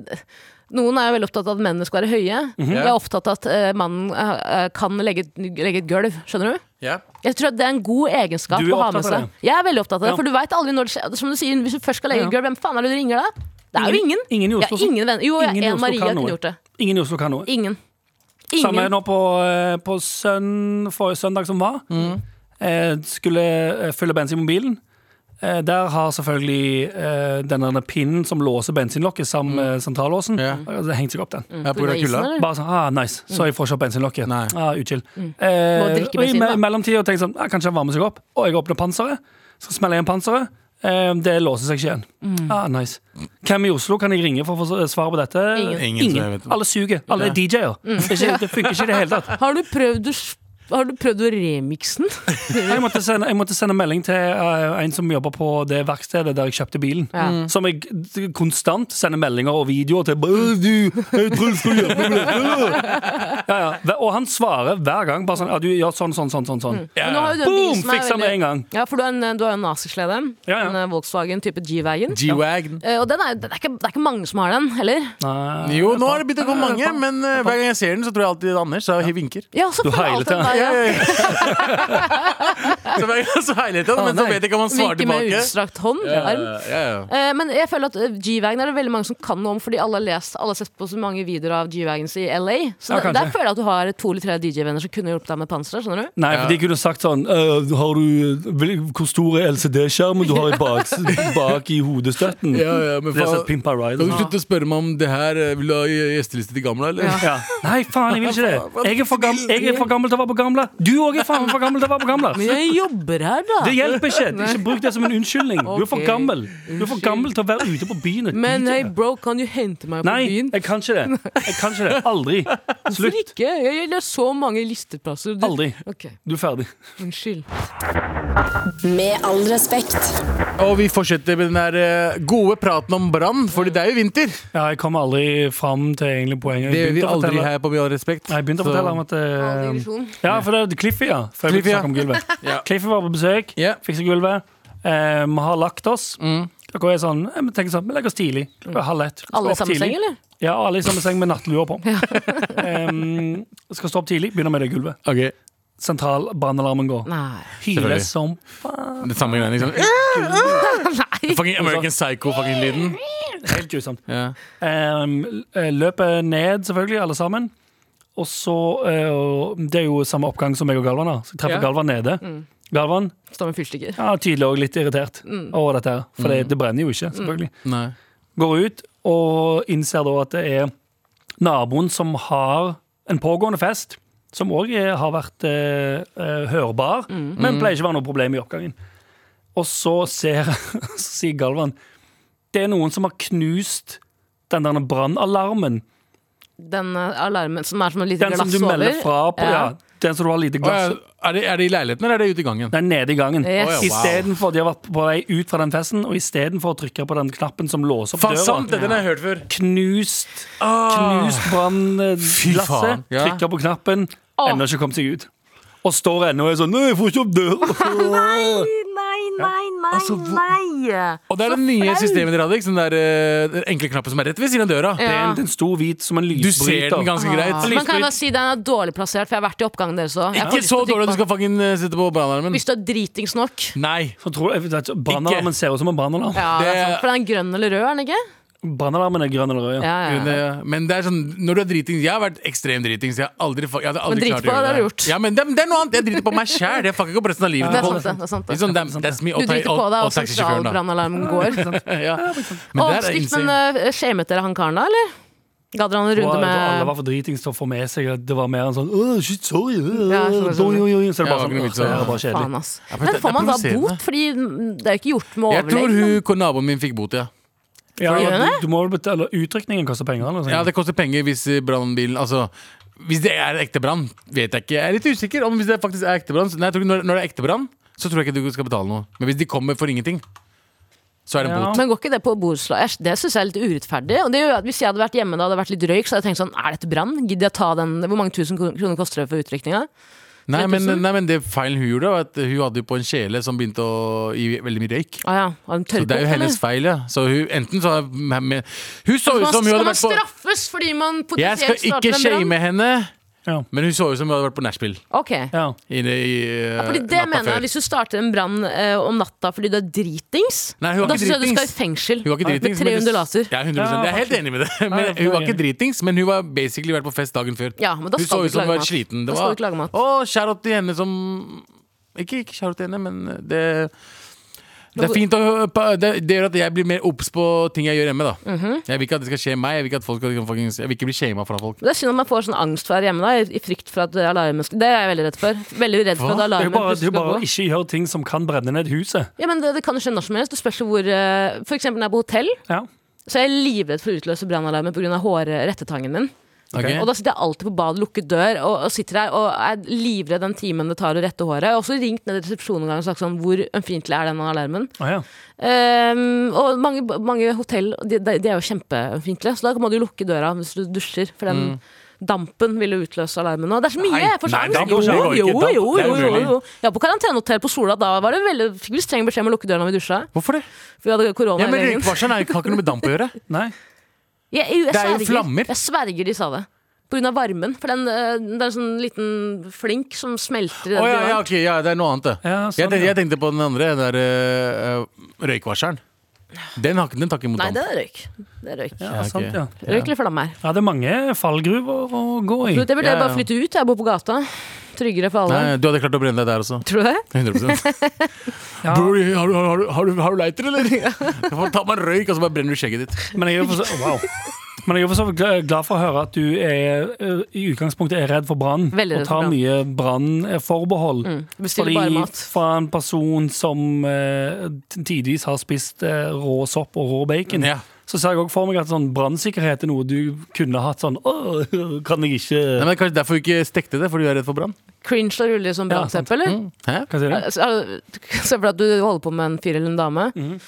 S2: Noen er jo veldig opptatt av at mennene skal være høye.
S4: Mhm.
S2: Jeg er opptatt av at eh, mannen eh, kan legge et, legge et gulv. Skjønner du?
S3: Ja.
S2: Jeg tror at Det er en god egenskap
S4: Du er
S2: å ha med
S4: opptatt av
S2: seg. Jeg er veldig opptatt av det,
S4: Ja.
S2: for du veit aldri når det skjer. Som du sier, hvis du først skal legge
S4: Ja.
S2: et gulv, hvem faen er det du ringer da? Det er jo ingen.
S4: Ingen i
S2: Jeg
S4: Oslo,
S2: har
S4: som-
S2: ingen venner. Jo, jeg,
S4: ingen i
S2: en
S4: Oslo
S2: Maria
S4: kan noe.
S2: kunne gjort det.
S4: ingen i Oslo kan noe.
S2: Ingen.
S4: Samme
S2: Ingen.
S4: nå på, eh, på søn, forrige søndag som var.
S3: Mm.
S4: Eh, skulle eh, fylle bensin i mobilen. Eh, der har selvfølgelig eh, den der pinnen som låser bensinlokket sammen med
S3: Mm.
S4: sentrallåsen,
S3: Ja.
S4: eh, det hengt seg opp den.
S2: Mm.
S3: Ja, på grunn av kulda.
S4: Bare sånn, ah, nice, så jeg får ikke opp bensinlokket.
S3: Nei.
S4: Ah, utkild. Eh,
S2: Mm. Må drikke
S4: og i
S2: bensin,
S4: me
S2: da.
S4: mellomtida tenker jeg sånn, ah, kanskje han varmer seg opp. Og jeg åpner panseret, så smeller jeg igjen panseret. Eh, det låser seg ikke igjen.
S2: Mm.
S4: Ah, nice. Hvem i Oslo kan jeg ringe for å få s- svar på dette?
S2: Ingen. Mm.
S3: Ingen, som jeg vet om.
S4: Alle suger. Alle er DJ-er. Det, er ikke- det funker ikke i det hele tatt.
S2: Har du prøvd å s- har du prøvd å remikse den?
S4: Jeg måtte sende, jeg måtte sende melding til eh, en som jobber på det verkstedet der jeg kjøpte bilen.
S2: Ja. Mm.
S4: Som jeg d- konstant sender meldinger og videoer til. «Bare «Øh, Du, jeg tror jeg skal hjelpe med dette!» ja, ja. Og han svarer hver gang bare sånn ja, du gjør sånn, sånn, sånn. sånn, sånn. Ja,
S2: Mm. Men nå har jo du en bil
S4: Boom!
S2: som er
S4: Fiksa
S2: veldig-
S4: med en gang.
S2: Ja, for du har en, du har en nazislede.
S4: Ja, ja.
S2: En eh, Volkswagen type G-Wagon.
S3: G-Wagon.
S2: Eh, og den er, det, er ikke, det er ikke mange som har den, heller.
S4: Nei.
S3: Jo, nå har det begynt å gå mange, men eh, hver gang jeg ser den, så tror jeg alltid det er Anders. Så jeg vinker.
S2: Ja, så
S4: Du
S2: følger alt
S4: heilet
S2: den
S4: den.
S2: der,
S3: Ja,
S2: ja.
S3: ja, ja. Så hver gang så heiler jeg til den, men så vet jeg ikke om han svarer
S2: Vinker med
S3: tilbake.
S2: utstrakt hånd.
S3: Ja,
S2: Arm.
S3: ja, ja.
S2: Eh, men jeg føler at eh, G-Wagon er det veldig mange som kan noe om, fordi alle har lest, alle har sett på så mange videoer av G-Wagons i LA. Så
S4: Ja,
S2: der,
S4: kanskje.
S2: der føler jeg at du har to eller tre DJ-venner som kunne hjulpet deg med panseret. Skjønner du?
S4: Nei, for de kunne sagt sånn «Øh, har du, vil- Hvor stor er LCD-skjermen du har i bak, bak i hodestøtten?
S3: Ja, ja, men
S4: De har sett
S3: faen-
S4: Pimp My
S3: Kan
S4: Ride. og
S3: du
S4: sånn.
S3: slutte å spørre meg om det her? eh, Vil du ha gjesteliste til gamle, eller?
S4: Ja. Nei, faen, jeg vil ikke det. Jeg er for, gam jeg er for gammel til å være på gamle. Du òg er faen for gammel til å være på gamle.
S2: Jeg jobber her, da!
S4: Det hjelper ikke. Ikke bruk det som en unnskyldning. Du er for
S2: Ok.
S4: gammel Du er for gammel til å være ute på byen. og
S2: Men
S4: DJ.
S2: hei, bro, kan du hente meg på
S4: Nei,
S2: byen?
S4: jeg kan ikke det. Jeg kan ikke det. Aldri.
S2: Hvorfor
S4: Slutt.
S2: ikke? Jeg jeg har så mange listeplasser. Du-
S4: Aldri.
S2: Ok,
S4: Du er ferdig.
S2: unnskyld.
S1: Med all respekt.
S3: Og vi fortsetter med den der eh, gode praten om brann, Fordi det er jo vinter.
S4: Ja, jeg kommer aldri fram til egentlig poenget.
S3: Det
S4: Jeg
S3: gjør vi
S4: begynte å
S3: aldri
S4: fortelle-
S3: her på Med all respekt.
S4: Nei, Jeg begynte å
S3: Så-
S4: fortelle om at
S2: All
S4: eh,
S2: digresjon.
S4: Ja, for det er Cliffy, ja. Før vi
S3: Cliffy, ja.
S4: snakket om gulvet.
S3: Ja.
S4: Cliffy var på besøk,
S3: Ja.
S4: fiksa gulvet. Eh, Vi har lagt oss.
S3: Mm.
S4: Klokka er sånn, eh, vi tenker sånn, vi legger oss tidlig. Klokka er halv ett. Skal
S2: Alle i
S4: opp
S2: samme
S4: tidlig.
S2: seng, eller?
S4: Ja, alle i samme seng med nattlua på. Em, skal stå opp tidlig, begynner med det gulvet.
S3: Ok,
S4: Sentral brannalarmen går.
S2: Nei.
S4: Hyler
S3: Selvfølgelig.
S4: som
S3: Det samme greiene, liksom.
S2: Nei.
S3: Fucking American Psycho-fucking-lyden.
S4: Helt grusomt.
S3: Ja.
S4: Em, l- løper ned, selvfølgelig, alle sammen. Og så eh, og Det er jo samme oppgang som meg og Galvan har. Så jeg treffer
S3: Ja.
S4: Galvan nede.
S2: Mm.
S4: Galvan
S2: Står med fyrstikker.
S4: ja, tydelig og litt irritert
S2: Mm.
S4: over dette her. For det, det brenner jo ikke, selvfølgelig.
S3: Nei.
S4: Går ut og innser da at det er naboen som har en pågående fest. Som òg har vært eh, eh, hørbar, men pleier ikke å være noe problem i oppgangen. Og så ser så sier Galvan det er noen som har knust den der brannalarmen.
S2: Den eh, alarmen som er som en liten
S4: Den
S2: glass
S4: som
S2: over.
S4: du melder fra på. Ja. den som du har lite
S3: Å, ja,
S4: glass
S3: Er det, er det i leiligheten, eller er det ute i gangen?
S4: Nei, nede i gangen.
S2: Yes.
S3: Å, ja, wow.
S4: Istedenfor de har vært på vei ut fra den festen, og istedenfor å trykke på den knappen som låser opp
S3: Faen,
S4: døra,
S3: sant! Det, den har jeg hørt før.
S4: knust
S3: Ah.
S4: Knust brannglasset,
S3: faen, ja.
S4: trykker på knappen,
S2: Åh.
S4: ennå ikke kommet seg ut. Og står ennå og er sånn Nei, jeg får ikke opp døra!
S2: Nei, nei, nei,
S3: Altså, hvor-
S2: nei!
S3: Og det er det nye systemet dere hadde. ikke sant? Den, der, eh, den enkle knappen som er rett ved siden av døra.
S4: Det er
S2: Ja.
S4: en, en stor hvit som en
S3: Du ser
S4: lysbryter.
S3: den ganske greit.
S2: Man kan da si den er dårlig plassert, for jeg har vært i oppgangen deres òg.
S3: Ikke så dårlig at du skal fucking eh, sitte på brannalarmen.
S2: Hvis du er dritings nok.
S3: Nei.
S4: Så tror jeg, vet du, brannalarmen ser ut som en brannalarm.
S2: Ja, det... er
S3: Det-
S2: sant, for den er grønn eller rød, er den ikke?
S4: Brannalarmen er grønn eller rød.
S2: Ja,
S4: Ja.
S2: ja.
S3: Men, eh, Men det er sånn, når du er dritings Jeg har vært ekstrem dritings. Jeg, har aldri, fa- jeg hadde aldri
S2: Men
S3: klart
S2: dritpå,
S3: å gjøre
S2: det har
S3: det.
S2: du gjort.
S3: Ja, men det, det er noe annet. Jeg driter på meg sjæl. Jeg fucker ikke opp resten av livet.
S2: Det er
S3: på-
S2: sant, det. det, er sant,
S3: Litt
S2: det.
S3: sånn, damn, that's me.
S2: Du
S3: Og, ta-
S2: driter på
S3: og,
S2: deg
S3: og
S2: også
S3: taxisjåføren, da.
S2: sentralbrannalarmen går.
S3: Ja. Men
S2: Å,
S3: det er
S2: stygt,
S3: insane.
S2: men eh, shamet dere han karen da, eller? Gadd dere han en
S4: Og
S2: runde
S4: alle
S2: med
S4: var for dritings til å få med seg at det var mer en sånn «Åh, shit, sorry øh,
S2: Ja, sånn,
S4: øh,
S2: sånn.
S4: oi, oi, oi», Så
S3: Ja,
S4: er det
S3: det var
S4: bare sånn
S3: ikke noe
S4: «Åh,
S3: vits
S4: det
S3: å-
S4: er bare
S2: Faen,
S4: kjedelig.
S2: ass.
S3: Ja, men
S2: Men får
S3: det- det
S2: man
S3: er
S2: da
S3: provoserende.
S2: bot? Fordi det er jo ikke gjort med
S3: Jeg tror
S2: overlegg.
S3: hun, ko- naboen min fikk bot, ja.
S4: Ja,
S2: Gjør det?
S4: du, du må jo betale Utrykningen koster penger. Eller, noe
S3: ja.
S4: sånt.
S3: Det koster penger hvis eh, brannbilen Altså, hvis det er ekte brann, vet jeg ikke. Jeg er litt usikker om hvis det faktisk er ekte brann. Så- Nei, jeg tror ikke når, når det er ekte brann, så tror jeg ikke du skal betale noe. Men hvis de kommer for ingenting, så er det en
S4: Ja.
S3: bot.
S2: Men går ikke det på borettslag? Jeg- Det syns jeg er litt urettferdig. Og det gjør at Hvis jeg hadde vært hjemme da det hadde vært litt røyk, så hadde jeg tenkt sånn Er dette brann? Gidder jeg ta den? Hvor mange tusen kro- kroner koster det for utrykninga?
S3: Nei men,
S2: 3000?
S3: nei, men det feilen hun gjorde, var at hun hadde jo på en kjele som begynte å gi veldig mye røyk.
S2: Ah, ja. Har de
S3: Så
S2: tørket
S3: det er jo
S2: opp,
S3: hennes
S2: eller? Altså,
S3: feil, ja. Så hun, enten så men- men- Hun så ut
S2: Man-
S3: som hun
S2: Skal
S3: hadde
S2: man
S3: vært på
S2: straffes fordi man
S3: Jeg skal
S2: potensielt
S3: ikke
S2: starter en brann?
S3: shame henne,
S4: Ja.
S3: men hun så ut som hun hadde vært på nachspiel.
S2: Ok.
S4: Ja.
S3: i- i, eh,
S2: Fordi det
S3: natta
S2: mener jeg,
S3: før.
S2: Hvis du starter en brann eh, om natta fordi du er dritings,
S3: Nei, hun var
S2: da
S3: ikke
S2: syns jeg du skal i
S3: dritings.
S2: fengsel.
S3: Hun var ikke dritings.
S2: med tre
S3: men det-
S2: undulater.
S3: Ja, 100%. Jeg er helt enig med det.
S4: Nei,
S3: Men
S4: det er
S3: hun var
S4: jeg.
S3: ikke dritings, men hun var basically vært på fest dagen før.
S2: Ja, men da
S3: Hun
S2: skal
S3: så
S2: du
S3: ut
S2: ikke
S3: som
S2: lage
S3: hun var
S2: mat.
S3: sliten.
S2: Da skal
S3: Det
S2: du
S3: var
S2: ikke lage mat.
S3: Å, shout-out til henne som Ikke, ikke shout-out til henne, men det det er fint å, det, det gjør at jeg blir mer obs på ting jeg gjør hjemme. da
S2: Mhm.
S3: Jeg vil ikke at det skal skje meg. Jeg vil ikke, at folk, skal- fucking- jeg vil ikke bli shama fra folk.
S2: Det er synd at man får sånn angst for å være hjemme, da, i- i frykt for at alarmen skal Det er jeg veldig redd for. Veldig redd for
S3: Hva?
S2: at
S4: Det er jo
S2: alarmen
S4: bare, det
S2: plutselig
S4: er jo bare
S2: skal
S4: å
S2: gå.
S4: ikke gjøre ting som kan brenne ned huset.
S2: Ja, men det, det kan jo skje når som helst. Det spørs jo hvor eh, For eksempel når jeg er på hotell,
S4: Ja.
S2: så er jeg livredd for å utløse brannalarmen pga. hårrettetangen min.
S3: Ok?
S2: Og da sitter jeg alltid på badet, lukket dør, og, og sitter der og er livredd den timen det tar å rette håret. Jeg har også ringt ned til resepsjonen en gang og sagt sånn Hvor ømfintlig er den alarmen?
S4: Å, ja.
S2: Ehm, og mange, mange hotell de, de de er jo kjempeømfintlige, så da må du lukke døra hvis du dusjer. For den dampen vil jo utløse alarmen. Og det er så mye!
S3: Mm. Nei,
S2: jeg får så
S3: nei,
S2: angst.
S3: damp
S2: jo,
S3: går ikke,
S2: jo,
S3: går ikke,
S2: jo,
S3: damp-
S2: jo,
S3: det er
S2: jo, jo,
S3: umulig.
S2: Ja, på karantenehotell på Sola, da var det veldig, fikk vi streng beskjed om å lukke døra når vi dusja.
S3: Hvorfor det?
S2: For vi hadde korona
S3: Ja, men
S2: hele gjengen.
S3: Røykvarsleren er- har ikke noe med damp å gjøre.
S4: Nei.
S2: Jeg, jeg, jeg
S3: Det er jo
S2: sverger.
S3: flammer.
S2: Jeg sverger de sa det. På grunn av varmen. For den, eh, det er en sånn liten flink som smelter i den
S3: Å ja, ja,
S2: døren.
S3: ok, ja, det er noe annet, det.
S4: Ja, sånn,
S3: jeg, tenkte,
S4: ja.
S3: jeg tenkte på den andre, den der øh, øh, røykvarsleren. Den, har, ikke- den tar ikke imot
S2: Nei, det er
S3: damp.
S2: røyk. Det er røyk.
S4: Ja,
S3: Ja, ok.
S4: sant, ja.
S2: Røyk eller flammer.
S4: ja, det er mange fallgruver å gå i.
S2: Jeg vurderer
S3: Ja, ja.
S2: bare å flytte ut. Jeg bor på gata. Tryggere for alle.
S3: Nei, du hadde klart å brenne deg der også.
S2: Tror du det?
S3: 100
S4: Ja.
S3: Bror, har, du- har, du- har, du- har du lighter, eller? Du får ta meg en røyk, og så bare brenner du skjegget ditt.
S4: Men jeg er jo for så, wow. Men jeg er jo for så vidt gla- glad for å høre at du er, eh, i utgangspunktet er redd for brann.
S2: Veldig
S4: Og
S2: redd for
S4: tar
S2: brann. Mm.
S4: mye brannforbehold.
S2: Bestiller bare
S4: Fordi
S2: mat.
S4: fra en person som eh, t- tidvis har spist eh, rå sopp og rå bacon,
S3: Ja.
S4: så ser jeg også for meg at sånn brannsikkerhet er noe du kunne hatt sånn Åh, kan jeg ikke
S3: Nei, men Kanskje derfor du ikke stekte det, fordi du er redd for brann?
S2: Cringe og rulle som
S4: Ja, sant.
S2: brannteppe, eller?
S3: Hæ?
S4: Hva sier du?
S2: Altså, er det- Se for deg at du holder på med en fyr eller en dame.
S3: Mm.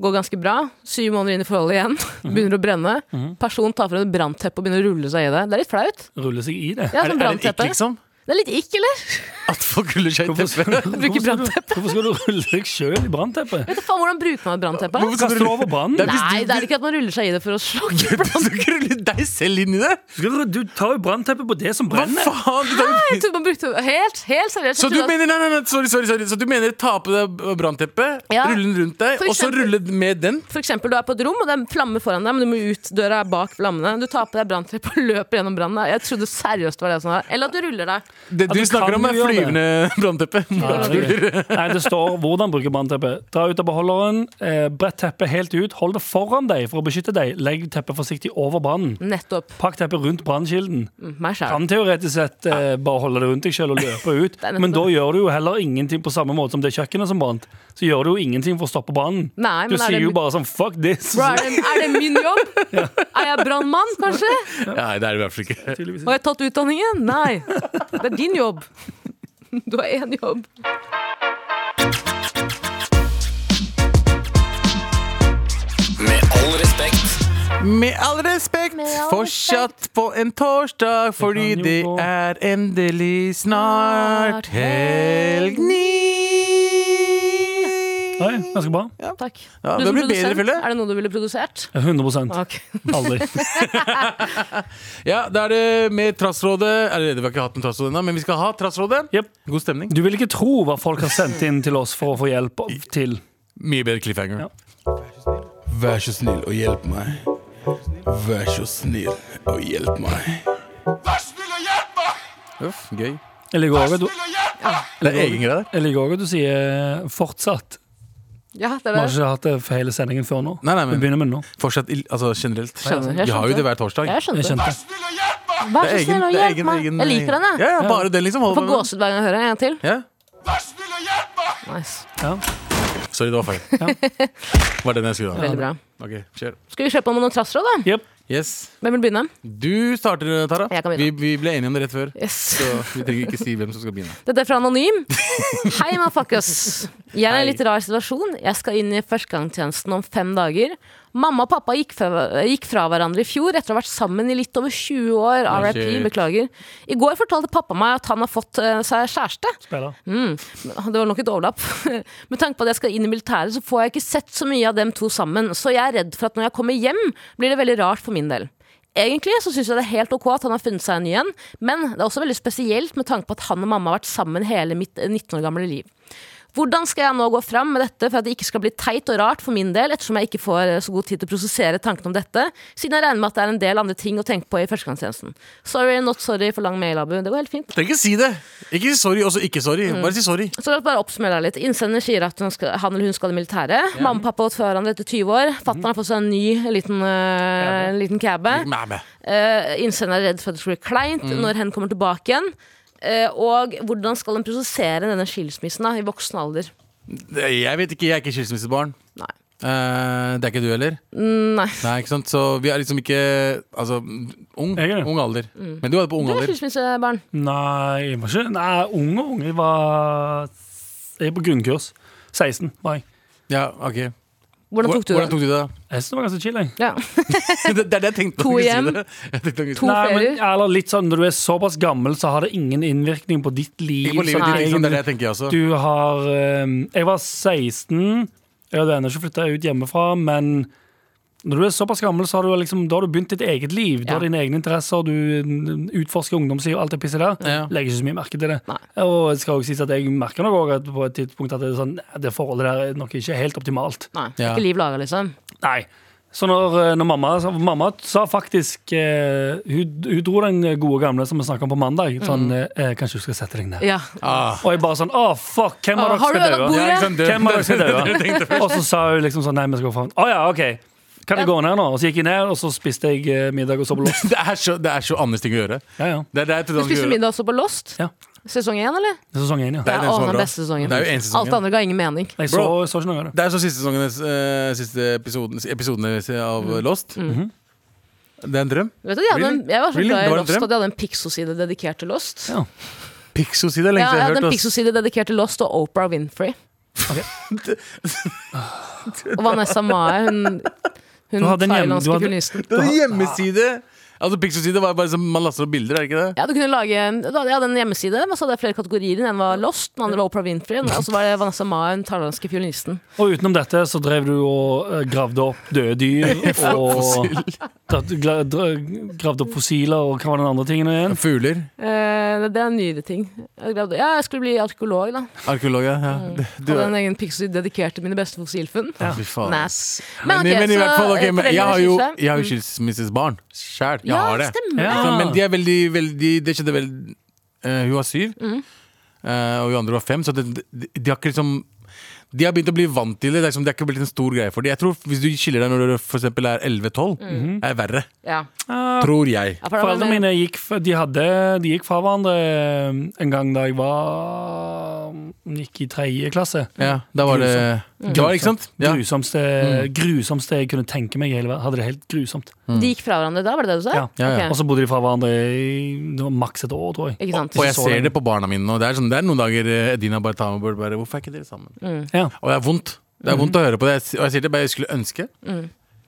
S2: Går ganske bra. Syv måneder inn i forholdet igjen. Begynner å brenne.
S3: Mm.
S2: Person tar frem et brannteppe og begynner å rulle seg i det. Det er litt flaut.
S4: Rulle seg i det?
S2: Ja,
S3: Er,
S2: sånn
S3: det- er det ikke
S2: brannteppe.
S3: liksom?
S2: Det er litt ikk, eller?
S3: At folk ruller seg i
S4: Hvorfor skal,
S3: teppet?
S4: hvorfor,
S2: Bruker
S4: skal du, hvorfor skal du rulle deg sjøl i brannteppet?
S2: Vet du faen hvordan bruker man et brannteppe?
S3: Hvorfor skal du
S4: Kaster du over brannen?
S3: Nei, hvis
S2: Nei,
S3: du-
S2: det er ikke at man ruller seg i det for å slokke
S3: Du skal ikke rulle deg selv inn i det!
S4: Skal Du du tar jo brannteppet på det som
S3: Hva
S4: brenner.
S3: faen? Du tar jo
S2: Jeg trodde man brukte Helt, helt seriøst.
S3: Så
S2: jeg
S3: du
S2: trodde at-
S3: mener, nei, nei, nei, sorry, sorry, sorry. Så du mener ta på deg brannteppet,
S2: Ja.
S3: rulle den rundt deg,
S2: For
S3: og så
S2: eksempel-
S3: rulle med den?
S2: For eksempel, du er på et rom, og det er flammer foran deg, men du må ut døra er bak flammene. Du tar på deg brannteppet og løper gjennom brannen. Jeg trodde seriøst det var det som var. Eller at du ruller deg.
S3: Det du
S4: du
S3: snakker
S4: kan
S3: om, er
S4: jo gjøre det.
S3: flyvende brannteppe.
S4: Ja, det er gøy. Nei, det står hvordan bruke brannteppe. Dra ut av beholderen, eh, brett teppet helt ut, hold det foran deg for å beskytte deg. Legg teppet forsiktig over brannen.
S2: Nettopp.
S4: Pakk teppet rundt brannkilden.
S2: Mm, Meg sjæl.
S4: Kan teoretisk sett eh, bare holde det rundt deg selv og løpe ut,
S2: er nettopp
S4: men da gjør du jo heller ingenting på samme måte som det kjøkkenet som brant. Så gjør du jo ingenting for å stoppe brannen.
S2: Nei,
S4: Du
S2: men er
S4: sier
S2: det,
S4: jo bare sånn fuck this.
S2: Bro, er, det, er det min jobb? Er jeg brannmann, kanskje?
S3: Nei, det er det i hvert fall ikke.
S4: Tydeligvis.
S2: Har jeg tatt utdanningen? Nei. Det er din jobb. Du har én jobb.
S5: Med all respekt.
S3: Med all respekt, fortsatt på en torsdag, fordi
S4: jo
S3: det
S4: gå.
S3: er endelig snart helg ni.
S4: Oi, ganske bra.
S2: Takk.
S3: Ja,
S2: Du
S3: det
S2: som
S3: blir bedre,
S2: produsent,
S3: Fylle.
S2: Er det noe du ville produsert?
S4: 100
S2: Ok.
S4: Aldri.
S3: Ja, da er det med Trassrådet. Eller, vi har ikke hatt en Trassråd ennå, men vi skal ha Trassrådet.
S4: Jep.
S3: God stemning.
S4: Du vil ikke tro hva folk har sendt inn til oss for å få hjelp av- til.
S3: Mye bedre cliffhanger.
S4: Ja.
S6: Vær så snill og hjelp meg. Vær så snill og hjelp meg.
S3: Uff, gøy.
S4: Jeg liker også at du-
S3: Det er egen greie der.
S4: jeg liker også at du sier eh, 'fortsatt'.
S2: Ja, det
S4: Vi
S2: er
S4: har
S2: det.
S4: ikke hatt det for hele sendingen før nå.
S3: Nei, nei,
S4: Vi
S3: men
S4: begynner med det nå.
S3: fortsatt i- altså, generelt.
S2: Skjønner, jeg
S3: Vi har jo
S2: skjønte.
S3: det hver torsdag.
S2: Jeg
S4: Jeg
S2: skjønte.
S4: skjønte.
S2: Vær så snill og
S3: det er
S2: hjelp meg.
S3: egen-
S2: Jeg liker den, jeg.
S3: Ja, ja, bare den, liksom.
S2: Jeg
S3: Hold
S2: får
S3: på med den.
S2: gåsehud hver gang jeg hører den. En gang til.
S3: Ja?
S2: Nice.
S4: Ja.
S3: Sorry, det var feil. Var den jeg skulle ha.
S2: Veldig bra.
S3: Ok, kjør.
S2: Skal vi kjøre på med noen trassråd, da?
S4: Jep.
S3: Yes.
S2: Hvem vil begynne?
S3: Du starter, Tara.
S2: Jeg kan
S3: Vi,
S2: begynne.
S3: vi ble enige om det rett før.
S2: Yes.
S3: Så vi trenger ikke si hvem som skal begynne.
S2: Dette er fra Anonym. Hei, motherfuckers. Jeg er i en litt rar situasjon. Jeg skal inn i førstegangstjenesten om fem dager. Mamma og pappa gikk fra, gikk fra hverandre i fjor etter å ha vært sammen i litt over 20 år. RIP,
S3: shit.
S2: beklager. I går fortalte pappa meg at han har fått eh, seg kjæreste.
S4: Spiller.
S2: Det var nok et overlapp. Med tanke på at jeg skal inn i militæret, så får jeg ikke sett så mye av dem to sammen. Så jeg er redd for at når jeg kommer hjem, blir det veldig rart for min del. Egentlig så syns jeg det er helt ok at han har funnet seg en ny en, men det er også veldig spesielt med tanke på at han og mamma har vært sammen hele mitt eh, 19 år gamle liv. Hvordan skal jeg nå gå fram med dette for at det ikke skal bli teit og rart for min del, ettersom jeg ikke får eh, så god tid til å prosessere tanken om dette, siden jeg regner med at det er en del andre ting å tenke på i førstegangstjenesten. Sorry, not sorry for lang mail, Abu. Det går helt fint.
S3: Trenger ikke si det. Ikke sorry, også ikke sorry. Bare si sorry.
S2: Så la oss bare oppsummere litt. Innsender sier at hun skal, han eller hun skal i militæret. Mamma og pappa har gått fra hverandre etter 20 år.
S3: Mhm.
S2: Fatter'n har fått seg en ny liten, uh, liten cabbe.
S3: Mæ, mæ.
S2: Eh, innsender er redd for at det skal bli kleint
S3: Mhm.
S2: når hen kommer tilbake igjen. Eh, og hvordan skal en prosessere denne skilsmissen da, i voksen alder?
S3: Det- Jeg vet ikke, jeg er ikke skilsmissebarn.
S2: Nei.
S3: Eh, det er ikke du heller?
S2: Mm, Nei.
S3: Nei, ikke sant? Så vi er liksom ikke Altså, ung,
S4: Jeg er det.
S3: ung alder. Men Mm. du var det på ung
S2: Du er
S3: alder.
S2: skilsmissebarn.
S4: Nei, jeg var ikke Nei, ung og ung. Jeg var Jeg er på grunnkurs. 16 var jeg.
S3: Ja, ok
S2: Hvordan tok du
S3: Hvordan
S2: det?
S3: tok du det?
S4: Jeg synes det var ganske chill, jeg.
S2: Ja.
S3: det det er det jeg tenkte.
S2: To
S3: når du
S2: igjen.
S3: sier det. Jeg tenkte når du
S2: To
S3: sier det.
S4: Nei, men,
S2: ferier.
S4: eller litt sånn, Når du er såpass gammel, så har det ingen innvirkning på ditt liv.
S3: Ikke på livet
S4: sånn
S3: ditt,
S4: egentlig.
S3: liksom. Det er det jeg tenker, jeg også.
S4: Du har eh, Jeg var 16. Jeg hadde ennå ikke flytta ut hjemmefra, men når du er såpass gammel, så har du liksom, da har du begynt ditt eget liv. Du
S2: Ja.
S4: har dine egne interesser, du mm, utforsker ungdomsliv og alt det pisset der.
S3: Ja.
S4: Legger ikke så mye merke til det.
S2: Nei.
S4: Og jeg skal også si at jeg merker nok også at på et tidspunkt at det, er sånn, "Nei, det forholdet der er nok ikke helt optimalt.
S2: Nei.
S3: Ja.
S2: Ikke liv laga, liksom.
S4: Nei. Så når, eh, når mamma, så mamma sa faktisk eh, hun, hun dro den gode gamle som vi snakka om på mandag. Sånn,
S2: Mm.
S4: eh, Kanskje du skal sette deg ned.
S2: Ja.
S3: Ah.
S4: Og jeg bare sånn, åh fuck, hvem
S2: Åh,
S4: av dere
S2: har du ødelagt
S4: skal dø?
S2: bordet?
S3: Ja, ikke sant, det-
S4: Hvem av dere skal
S3: det- det- det tenkte jeg
S4: dø? Og så sa hun liksom sånn, nei, vi skal gå faen Å ja, ok, kan jeg gå ned nå? Og så gikk jeg ned, og så spiste jeg eh, middag og så på loss
S3: Det er så, det er så Anders ting å gjøre.
S4: Ja, ja,
S3: Det er det jeg
S2: Du
S3: trodde han skulle
S2: spiste
S3: gjøre.
S2: middag også på Lost?
S4: Ja.
S2: Sesong én, eller?
S4: det er sesong 1, ja
S3: Det er den
S2: Ja,
S3: som
S2: å,
S3: var
S2: den
S3: bra.
S2: beste sesongen.
S3: Det er jo en sesongen.
S2: Alt det andre ga ingen mening.
S4: Jeg så,
S3: Bro.
S4: så ikke noe av det
S3: Det er så siste sesongenes eh, siste episoden, episodene av
S2: Mm.
S3: Lost. Det er en drøm.
S2: Vet du, de hadde en,
S3: Really?
S2: jeg var så glad i
S3: Really? Det var en
S2: Lost,
S3: drøm?
S2: og de hadde en Pixo-side dedikert til Lost.
S4: Ja.
S3: Pixo-side
S2: Ja,
S3: er lenge
S2: jeg hadde
S3: siden
S2: en
S3: jeg har hørt.
S2: Pixo-side dedikert til Lost og Oprah Winfrey. og Vanessa Mae, hun, hun
S4: Du hadde en hjem- du
S2: thailandske
S4: hadde-
S2: pianisten.
S3: Det er en hjemmeside! Altså, Pixo-side var bare som man laster opp bilder, er det ikke det?
S2: Ja, du kunne lage, du hadde- jeg hadde en hjemmeside, men så hadde jeg flere kategorier. Den ene var Lost, den andre var Oprah Winfrey, og så var det Vanessa Mae, den thailandske fiolinisten.
S4: Og utenom dette så drev du og eh, gravde opp døde dyr Og dra- dra- dra- gravde opp fossiler og hva var den andre tingen igjen?
S3: Fugler.
S2: Eh, det er en nyere ting. Jeg gravde- Ja, jeg skulle bli arkeolog, da.
S3: Arkeolog, ja. ja.
S2: Mm.
S3: Det- Du,
S2: Hadde en egen Pixo-side dedikert til mine beste fossilfunn.
S3: ja. Fy faen.
S2: Nas. ok,
S3: Men, men i hvert fall,
S2: så,
S3: ok,
S2: eh,
S3: men,
S2: foreldrene
S3: jeg har jo
S2: skilsmisse.
S3: jeg har jo skilsmissesbarn sjæl. Jeg
S2: ja,
S3: har det.
S2: stemmer.
S4: Ja.
S3: Så, men de er veldig, veldig Det skjedde vel eh, Hun var syv, eh, og hun andre var fem, så det, de, de har ikke liksom de har begynt å bli vant til det. Det er, liksom, det er ikke blitt en stor greie for dem. Jeg tror Hvis du skiller deg når du for eksempel er 11-12, er verre.
S2: Mm. Ja.
S4: Ah,
S3: Tror jeg.
S2: Ja, for det var
S4: Mhm. Foreldrene
S2: mer-
S4: mine gikk, f- de hadde, de gikk fra hverandre eh, en gang da jeg var hun gikk i tredje klasse.
S3: Ja, da var det Ja, ikke sant? Ja. Mm.
S4: Grusomste, grusomste jeg kunne tenke meg i hele verden. Hadde det helt grusomt.
S2: De gikk fra hverandre da, var det det du sa?
S4: Ja.
S3: Ja, ja.
S2: Ok.
S4: Og så bodde de fra hverandre i det var maks et år, tror jeg.
S2: Ikke sant?
S3: Og jeg
S4: så
S3: ser
S4: lenge.
S3: det på barna mine nå. Det er, sånn, det er noen dager eh, Edina bare tar meg bort bare Hvorfor er ikke dere sammen?
S4: Ja.
S3: Og det er vondt. Det er vondt å høre på det. Jeg s- Og jeg sier det bare jeg skulle ønske.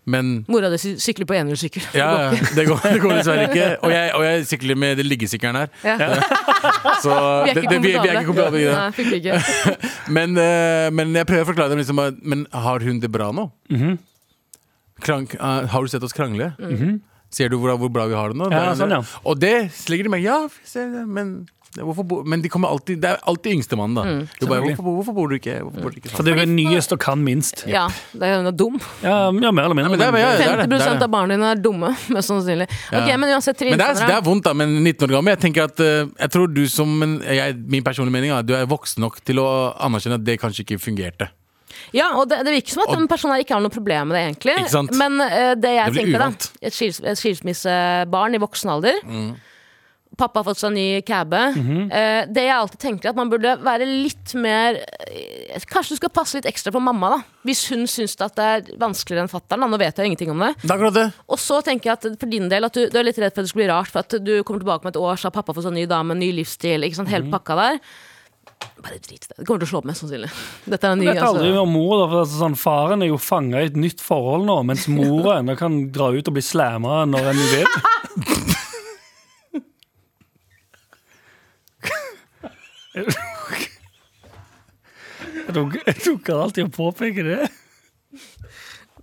S3: Men
S2: Mora di sy- sykler på enhjulssykkel.
S3: ja, Mm. det går, det går dessverre ikke. Og jeg, og jeg sykler med den liggesykkelen her.
S2: Ja.
S3: Så
S2: Vi er
S3: det,
S2: ikke
S3: det, vi, vi er
S2: komfortable.
S3: ikke komfortable i det.
S2: Nei, funker ikke.
S3: Men, eh, men jeg prøver å forklare dem liksom at, Men har hun det bra nå? Krank, eh, har du sett oss krangle?
S2: Mhm.
S3: Ser du hvor, hvor bra vi har det nå?
S4: Ja, sånn, ja.
S3: Og det legger de meg Ja, vi ser det, men Hvorfor bo, men de kommer alltid, det er alltid
S2: Mm,
S3: yngstemann, da. Du bare, hvorfor, bo- hvorfor bor du ikke, hvorfor bor du ikke sånn?
S4: For
S3: sammen?
S4: det er jo nyest og kan minst.
S2: Ja, det er jo noe dum.
S4: Ja, ja mer eller mindre.
S3: men det er- ja, ja.
S2: 50 av barna dine er dumme, mest sannsynlig. Ok,
S3: Ja.
S2: men uansett, Trine
S3: Men det er, det
S2: Sandra.
S3: er vondt, da. Men 19 år gammel. Jeg tenker at eh, Jeg tror du som en, jeg, Min personlige mening er at du er voksen nok til å anerkjenne at det kanskje ikke fungerte.
S2: Ja, og det, det virker som at den personen her ikke har noe problem med det, egentlig.
S3: Ikke sant?
S2: Men eh, det jeg
S3: Det blir
S2: tenker,
S3: uvant. Mm.
S2: da. Et, skils, et skilsmissebarn i voksen alder. Pappa har fått seg ny cabbe.
S3: Mhm.
S2: Eh, det jeg alltid tenker, er at man burde være litt mer eh, Kanskje du skal passe litt ekstra på mamma, da. Hvis hun syns at det er vanskeligere enn fatter'n. Nå vet jeg jo ingenting om det.
S3: Det er akkurat det.
S2: Og så tenker jeg at for din del at du, du er litt redd for at det skal bli rart, for at du kommer tilbake med et år, så har pappa fått seg ny dame, ny livsstil, ikke sant, hele pakka der. Bare drit i det. Det kommer til å slå opp, mest sannsynlig. Dette er en ny,
S4: Jeg vet aldri
S2: altså.
S4: om mor, da, for altså, sånn, Faren er jo fanga i et nytt forhold nå, mens mora ennå kan dra ut og bli slamma når en vil. Jeg tok- Jeg tok alltid å påpeke det.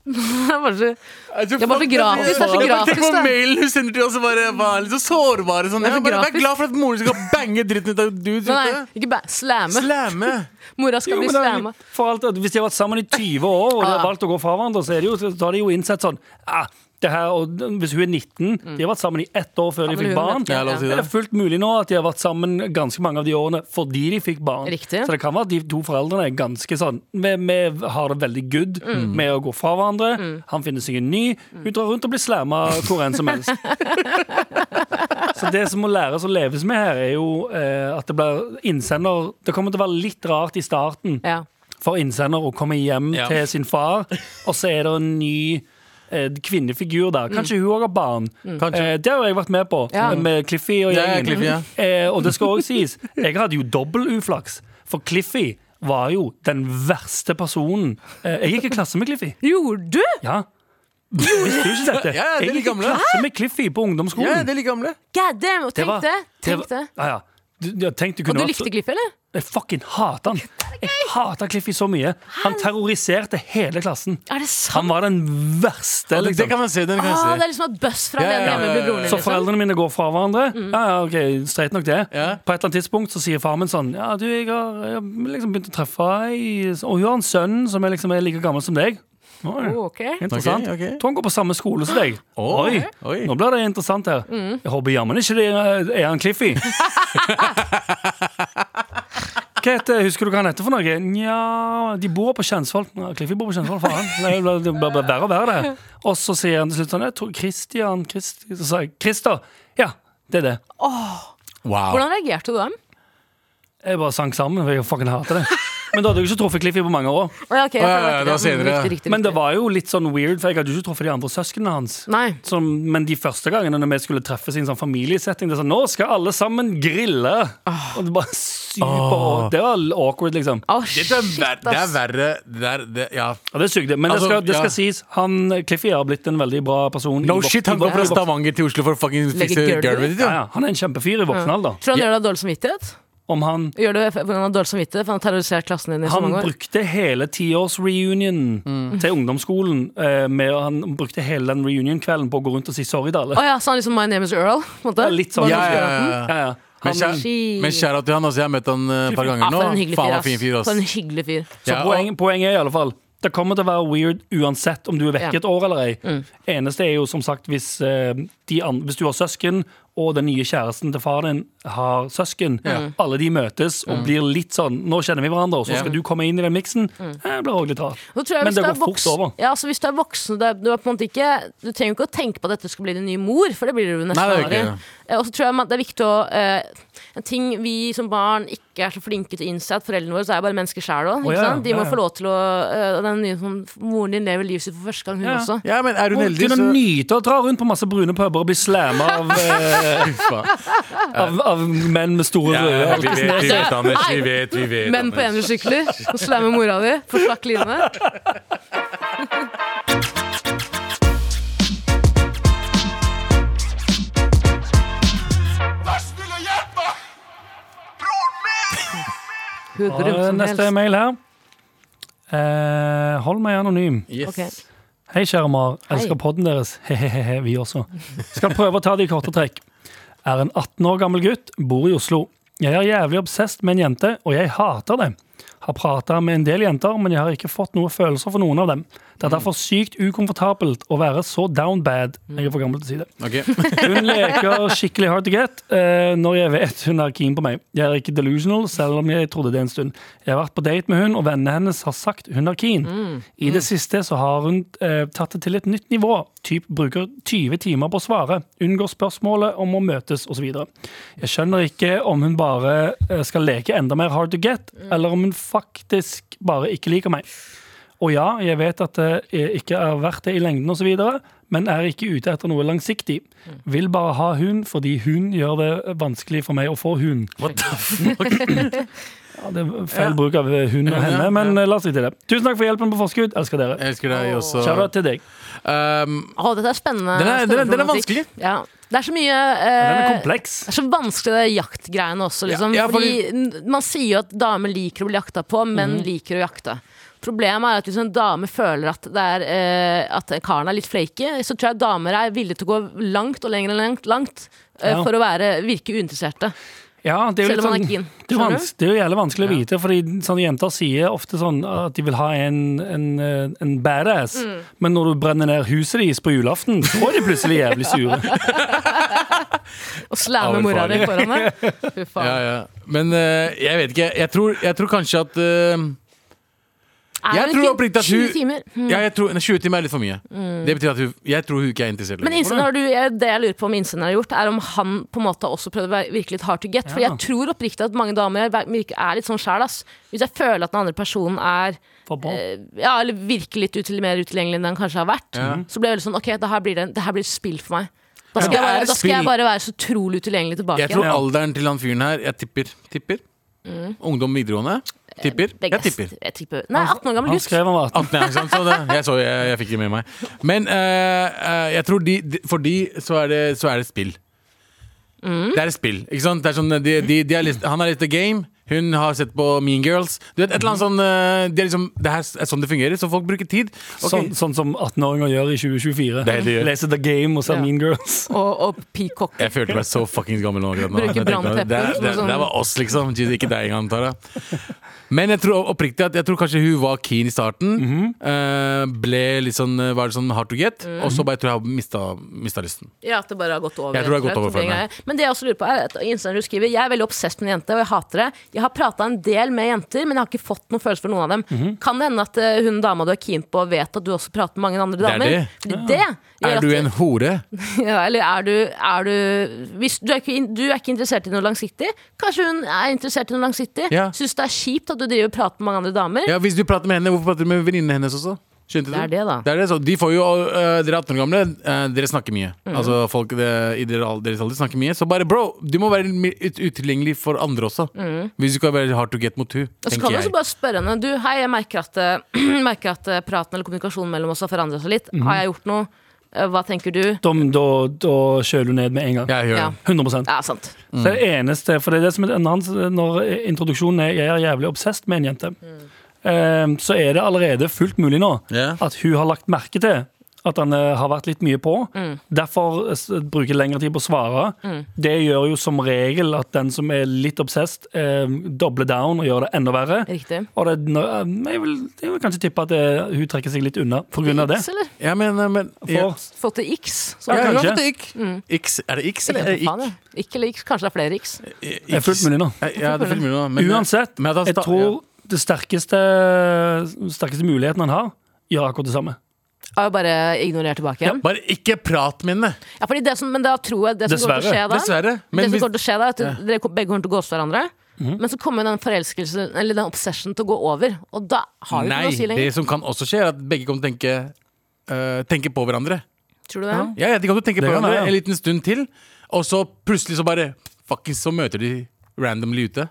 S2: Det er bare så- Det er bare så gratis. Det er så
S3: Jeg bare
S2: gratis,
S3: tenker på
S2: det.
S3: mailen hun sender til oss og bare var litt så sårbare. Sånn.
S2: Det er
S3: Jeg
S2: så
S3: bare, vær
S2: grafisk.
S3: glad for at moren skal bange dritten ut av dudes
S2: Nei,
S3: ute.
S2: nei, ikke bare slamme.
S3: Slamme.
S2: Mora skal
S4: Jo,
S2: bli
S4: men det er
S2: slamma.
S4: jo- for alt, at hvis de har vært sammen i 20 år og de har
S2: Ja.
S4: valgt å gå fra hverandre, så, er det jo, så har de jo innsett sånn ah, det her, og Hvis hun er 19, de har vært sammen i ett år før
S2: Ja,
S4: de
S2: men
S4: fikk
S2: hun
S4: barn.
S2: vet det, Ja,
S3: la oss si ja.
S4: er det fullt mulig nå at de har vært sammen ganske mange av de årene fordi de fikk barn.
S2: Riktig.
S4: Så det kan være at de to foreldrene er ganske sånn Vi, vi har det veldig good
S2: Mm.
S4: med å gå fra hverandre. Han finner seg en ny. Hun drar rundt og blir slamma hvor enn som helst. Så det som må læres å leves med her, er jo eh, at det blir innsender Det kommer til å være litt rart i starten
S2: Ja.
S4: for innsender å komme hjem
S3: Ja.
S4: til sin far, og så er det en ny eh, kvinnefigur der. Kanskje hun òg har barn. Eh, det har jo jeg vært med på,
S2: Mm.
S4: eh,
S2: Ja.
S4: med Cliffy og
S3: Ja, ja,
S4: gjengen.
S3: Cliffy, ja.
S4: eh, og det skal òg sies, jeg hadde jo dobbel uflaks, for Cliffy var jo den verste personen. Eh, jeg gikk i klasse med Cliffy.
S2: Gjorde du?
S4: Ja. Visste du ikke dette?
S3: Ja, ja, det er
S4: jeg
S3: de
S4: gikk i
S3: gamle.
S4: klasse med Cliffy på
S3: Ja,
S4: ungdomsskolen.
S3: det er like gamle.
S2: God damn,
S4: Det
S2: tenk
S4: var-
S2: det. Tenk
S4: var-
S2: det.
S4: Ja, ja. Du, ja, tenk, du
S2: Og
S4: kunne
S2: du
S4: vært-
S2: likte Gliff, eller?
S4: Jeg fucking hater han. Jeg hater Cliffy så mye. Han terroriserte hele klassen.
S2: Er det
S4: Han
S2: sant?
S4: var den verste,
S3: Det, det
S4: liksom.
S3: kan man se. Den kan
S2: Ah,
S3: jeg
S2: det
S3: se.
S2: er liksom at buss fra
S3: Ja,
S2: den
S3: ja,
S2: hjemme blir
S3: ja,
S2: broren din.
S4: Så
S2: Liksom.
S4: foreldrene mine går fra hverandre. Ja, ja, ok, Streit nok det.
S3: Ja.
S4: På et eller annet tidspunkt så sier faren min sånn Ja, du, jeg har, jeg har liksom begynt å treffe ei Og hun har en sønn som er, liksom, er like gammel som deg. Oi,
S2: Oh, ok.
S4: Interessant.
S3: Ok, ok.
S4: Tror han går på samme skole som deg.
S3: Oi, oi.
S4: Nå blir det interessant her. Jeg håper jammen ikke det er er han Cliffy. Hva heter, Husker du hva han heter for noe? Nja, de bor på Kjensvoll. Ja, Cliffy bor på Kjensvoll, faen. Det blir- Det blir verre og verre, det. Og så sier han til slutt sånn Jeg tror Christian Christ, Så sa jeg Christer. Ja, det er det.
S3: Wow.
S2: Hvordan reagerte du da?
S4: Jeg bare sank sammen, for jeg fucking hater det. Men da hadde jeg ikke truffet Cliffy på mange år.
S2: Å, ja, ok, jeg
S3: Å,
S2: føler
S3: ja, ja,
S2: at
S3: det var senere,
S2: Mm,
S3: ja.
S2: riktig, riktig,
S4: Men det
S2: riktig.
S4: var jo litt sånn weird, for jeg hadde jo ikke truffet de andre søsknene hans.
S2: Nei.
S4: Som, men de første gangene når vi skulle treffes i en sånn familiesetting, det er sånn, nå skal alle sammen grille!
S2: Ah.
S4: Og det bare
S3: Ah.
S4: super Det var awkward, liksom.
S2: Å,
S3: Det
S2: shit,
S3: er, ver det er
S2: ass.
S3: verre det er, det, ja.
S4: Og det sugde. Men det
S3: Altså,
S4: skal, det
S3: ja.
S4: skal sies, han Cliffy har blitt en veldig bra person.
S3: No
S4: i vok-
S3: shit, han
S4: i
S3: går
S4: vok-
S3: fra
S4: i vok-
S3: Stavanger til Oslo for å fucking fikse
S2: Legge
S3: gulvet
S2: gulvet.
S3: ditt.
S4: Ja,
S3: jo.
S4: ja, han er en kjempefyr i voksen alder.
S2: Tror du han gjør deg dårlig samvittighet?
S4: Om han
S2: Gjør du det fordi han har dårlig samvittighet? For han har terrorisert klassen din i så
S4: han
S2: mange år? Mm.
S4: brukte hele tiårsreunionen til ungdomsskolen. eh, Med, han brukte hele den reunion-kvelden på å gå rundt og si sorry til alle.
S2: Å ja, så han liksom My name is Earl? På en måte.
S4: Ja, litt sånn.
S3: Ja, ja, ja, ja.
S4: Ja, ja.
S3: Men
S4: Han,
S3: kjære,
S2: Shit.
S3: men kjære til han, altså, jeg har møtt han eh, et par ganger
S2: Ah,
S3: nå.
S2: for en hyggelig
S3: Faen,
S2: fyr,
S3: han er fin fyr,
S2: ass.
S3: ass.
S2: For en hyggelig fyr.
S4: Så
S3: Ja,
S4: poeng, poenget er i alle fall det kommer til å være weird uansett om du er
S2: Ja.
S4: vekk
S2: Mm.
S4: et år eller ei. Eneste er jo som sagt hvis, eh, de an hvis du har søsken og den nye kjæresten til faren din har søsken.
S7: Mm.
S4: Alle de møtes
S2: Mm.
S4: og blir litt sånn Nå kjenner vi hverandre, og så skal du komme inn i den miksen.
S2: Mm.
S4: Eh, Det blir også litt rart.
S2: Og tror jeg
S4: Men
S2: hvis du
S4: det går
S2: er
S4: fort
S2: voksen-
S4: over.
S2: Ja, altså hvis du er voksen du, er, du, er på en måte ikke, du trenger jo ikke å tenke på at dette skal bli din nye mor, for det blir du jo nesten
S3: Nei, det er jo
S2: aldri.
S3: ikke det.
S2: Eh, Og så tror jeg man- det er viktig å eh, En ting vi som barn ikke er så flinke til å innse, at foreldrene våre så er bare mennesker sjæl òg.
S4: Å, ja,
S2: De må
S4: ja, ja.
S2: få lov til å eh, og Den nye sånn, moren din lever livet sitt for første gang, hun
S4: Ja.
S2: også.
S3: Ja, men er hun
S4: Må
S3: heldig, så
S4: Kunne nyte å dra rundt på masse brune puber og bli slamma av, eh, av, av menn med store
S7: Ja,
S4: røde
S7: ja, vi vet, vi vet, Anders. Vi vet, vi vet.
S2: Menn på
S7: Anders.
S2: enersykler og slamme mora di for slakk line. Vær snill og hjelp meg! Broren min! Hudrum
S4: Eh,
S2: som
S4: Neste
S2: helst.
S4: mail her. Eh, hold meg anonym.
S3: Yes.
S2: Ok.
S4: Hei, kjære Mar. Elsker
S2: Hei.
S4: podden deres. Hehehe, vi også. Skal prøve å ta det i korte trekk. Er en 18 år gammel gutt, bor i Oslo. Jeg er jævlig obsesst med en jente, og jeg hater det. Har prata med en del jenter, men jeg har ikke fått noen følelser for noen av dem. Det er derfor sykt ukomfortabelt å være så down bad. Jeg er for gammel til å si det.
S3: Ok.
S4: Hun leker skikkelig hard to get eh, når jeg vet hun er keen på meg. Jeg er ikke delusional, selv om jeg trodde det en stund. Jeg har vært på date med hun, og vennene hennes har sagt hun er keen. I det siste så har hun eh, tatt det til et nytt nivå. Typ bruker 20 timer på å svare, unngår spørsmålet om å møtes osv. Jeg skjønner ikke om hun bare eh, skal leke enda mer hard to get, eller om hun faktisk bare ikke liker meg. Og ja, jeg vet at det eh, ikke er verdt det i lengden osv., men er ikke ute etter noe langsiktig. Vil bare ha hund fordi hun gjør det vanskelig for meg å få hund.
S3: What the fuck?
S4: Ja, det er feil bruk av hund og henne, men eh, la oss ikke til det. Tusen takk for hjelpen på forskudd. Elsker dere.
S3: Jeg elsker deg også.
S4: Kjære til deg.
S3: Um,
S2: Å, dette er spennende.
S3: Den er- den er- den er
S2: spennende
S3: vanskelig.
S2: problematikk. Ja. Det er så mye
S4: Den er
S2: eh,
S4: kompleks.
S2: det er så vanskelig det jaktgreiene også, liksom.
S3: Ja, ja,
S2: fordi... n- man sier jo at damer liker å bli jakta på, menn
S3: Mhm.
S2: liker å jakte. Problemet er at hvis en dame føler at, det er, eh, at karen er litt flaky, så tror jeg damer er villige til å gå langt og lenger enn langt, langt eh,
S4: Ja.
S2: for å være, virke uinteresserte.
S4: Ja, det er jo
S2: Selv
S4: litt
S2: om man
S4: sånn
S2: er keen.
S4: det er,
S2: Skjønner du?
S4: vans det er jo jævlig vanskelig å vite, Fordi sånne jenter sier ofte sånn at de vil ha en, en, eh, en badass,
S2: Mm.
S4: men når du brenner ned huset deres på julaften, så er de plutselig jævlig sure.
S2: Eh, Og slamme mora di foran deg. Fy faen.
S3: ja, ja. Men eh, jeg vet ikke. Jeg tror, jeg tror kanskje at eh,
S2: Mm. Er
S3: Jeg
S2: det
S3: tror
S2: ikke
S3: oppriktig at
S2: 20
S3: hun-
S2: timer?
S3: ja, jeg tror, nei, 20 timer er litt for mye. Det betyr at hun, jeg tror hun ikke er interessert
S2: Mm. Men innsender har du, jeg- det jeg lurer på om innsender har gjort, er om han på en måte også prøvde å være- virke litt hard to get. For
S4: Ja.
S2: jeg tror oppriktig at mange damer er er litt sånn sjæl, ass. Hvis jeg føler at den andre personen er
S4: For bra.
S2: eh, Ja, eller virker litt util, mer utilgjengelig enn den kanskje har vært, så blir jeg veldig sånn Ok, det her blir, det, det her blir et spill for meg. Da skal,
S3: det
S2: jeg
S3: er
S2: bare,
S3: et
S2: da skal jeg
S3: spill.
S2: bare være så utrolig utilgjengelig tilbake.
S3: Jeg tror
S2: igjen.
S3: alderen til han fyren her Jeg tipper. tipper. Ungdom videregående. Tipper.
S2: Mm. Eh, Begge-
S3: Jeg tipper.
S2: jeg tipper. Nei, 18 år gammel
S4: Han
S2: gutt.
S4: skrev han var 18.
S3: At- nei, ikke sant, så det, jeg så, jeg, jeg fikk det med meg. Men eh, eh, jeg tror de, de, for de så er det, så er det spill. Det er et spill. ikke sant? Det er sånn, de, de, de er litt, han har lest The Game, hun har sett på Mean Girls. Du vet, et eller annet sånn, eh, det, er liksom, det her er sånn det fungerer, så folk bruker tid. Ok.
S4: Sånn, sånn som 18-åringer gjør i 2024.
S7: Det er det de gjør.
S4: Leser The Game og ser
S2: Ja.
S4: Mean Girls.
S2: Og, og peacock.
S3: Jeg følte meg så fuckings gammel nå. akkurat nå.
S2: Bruker
S3: Jeg tenkte,
S2: brandtepper
S3: Det, det,
S2: som
S3: det,
S2: sånn-
S3: det var oss, liksom. Jesus, Ikke deg engang, Tara. Men jeg tror oppriktig at jeg tror kanskje hun var keen i starten. eh, ble litt sånn eh, var litt sånn hard to get,
S2: Mm.
S3: og så bare tror jeg hun mista, mista lysten.
S2: Ja, at det bare har gått over.
S3: Jeg tror
S2: rett og
S3: det har gått
S2: slett,
S3: over for
S2: det greia. Men det jeg også lurer på er at Instagram du skriver Jeg er veldig obsessed med en jente, og jeg hater det. Jeg har prata en del med jenter, men jeg har ikke fått noen følelse for noen av dem.
S3: Mhm.
S2: Kan det hende at eh, hun dama du er keen på, vet at du også prater med mange andre
S3: er
S2: damer?
S3: det.
S2: Fordi det gjør
S3: Er
S2: at-
S3: du en hore?
S2: ja, Eller er du, er du Hvis du er, ikke, in- du er ikke interessert i noe langsiktig, kanskje hun er interessert i noe langsiktig?
S3: Ja.
S2: Syns det er kjipt at du driver og prater med mange andre damer?
S3: Ja, Hvis du prater med henne, hvorfor prater du med venninnene hennes også? Skjønte du?
S2: Det er det, da.
S3: Det er det, så de får jo, øh, Dere 18 år gamle, øh, dere snakker mye.
S2: Mm.
S3: Altså Folk øh, i dere, al- deres alder snakker mye. Så bare bro, du må være mer ut utilgjengelig for andre også. Hvis du kan være hard to get mot hun,
S2: Mm. Og så kan
S3: tenker
S2: du også
S3: jeg.
S2: bare spørre henne Du, hei, jeg merker at, eh, merker at eh, praten eller kommunikasjonen mellom oss har forandret seg litt. Har jeg gjort noe? Eh, Hva tenker du?
S4: Da, da, da kjøler du ned med en gang.
S3: Ja, Mm. jeg hører
S2: Ja.
S3: det.
S4: 100
S2: Ja, sant.
S4: Så det er det eneste, for det er det som er en annen Når introduksjonen er 'jeg er jævlig obsessed med en ehm, jente', eh, så er det allerede fullt mulig nå
S3: Ja.
S4: at hun har lagt merke til At han eh, har vært litt mye på. Derfor eh, s- bruker lengre tid på å svare. Det gjør jo som regel at den som er litt obsessed, eh, dobler down og gjør det enda verre.
S2: Riktig.
S4: Og det, nå, eh, jeg, vil, jeg vil kanskje tippe at eh, hun trekker seg litt unna på grunn av det.
S2: X, eller?
S3: Ja, men, eh, men ja.
S4: For,
S2: Fått til X? Så
S3: Ja,
S4: Ja,
S3: hun har
S4: kanskje.
S3: fått ikk. Ikk- Er det X eller er
S2: Mm.
S3: det
S2: Ikke,
S3: ikk?
S2: ikke eller X, kanskje det er flere X.
S4: det er fullt mulig nå.
S3: Ja, det er fullt mulig nå. men- eh,
S4: Uansett,
S3: men at han
S4: jeg
S3: sta-
S4: tror det sterkeste, sterkeste muligheten han har, gjør akkurat det samme.
S2: Har jo bare ignorert tilbake
S3: ja.
S2: igjen.
S3: Bare ikke prat med henne!
S2: Ja, fordi det som, men da tror jeg det som kommer til å skje
S4: Dessverre.
S2: da
S3: Dessverre.
S2: det
S3: Men
S2: som
S3: hvis,
S2: kommer til å skje da, er at dere kom- begge kommer til å gåse hverandre. Men så kommer den forelskelsen, eller den obsession til å gå over. Og da har vi ikke
S3: nei,
S2: noe å si
S3: det
S2: lenger.
S3: som kan også skje, er at begge kommer til å tenke eh, Tenke på hverandre.
S2: Tror du det?
S3: Ja, ja, de kommer til å tenke
S4: Det
S3: på
S4: kan
S3: hverandre
S4: være, ja.
S3: en liten stund til, og så plutselig så bare Fuckings, så møter de randomly ute.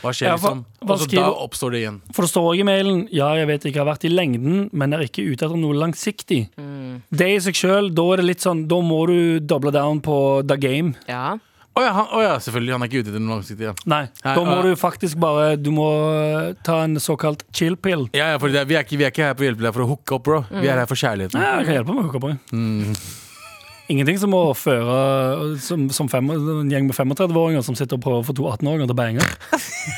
S3: Hva skjer,
S4: Ja, hva-
S3: liksom?
S4: hva
S3: Og så da
S4: skriver-
S3: oppstår det igjen.
S4: For det står også i mailen Ja, jeg vet ikke, jeg har vært i lengden, men er ikke ute etter noe langsiktig.
S3: Mm.
S4: Det i seg sjøl, da er det litt sånn Da må du doble down på the game.
S2: Ja.
S3: Å ja, han, å ja, selvfølgelig. Han er ikke ute etter noe langsiktig. Ja.
S4: Nei,
S3: Nei,
S4: da må
S3: og-
S4: du faktisk bare Du må eh, ta en såkalt chill pill.
S3: Ja, ja, for det, er- vi, er ikke, vi er ikke her på å hjelpe deg for å hooke opp, bro. Vi er her for kjærligheten.
S4: Ja, jeg kan hjelpe med å hooke på.
S3: Mm.
S4: Ingenting som å føre som, som fem, en gjeng med 35-åringer som sitter og prøver å få to 18-åringer til å bange.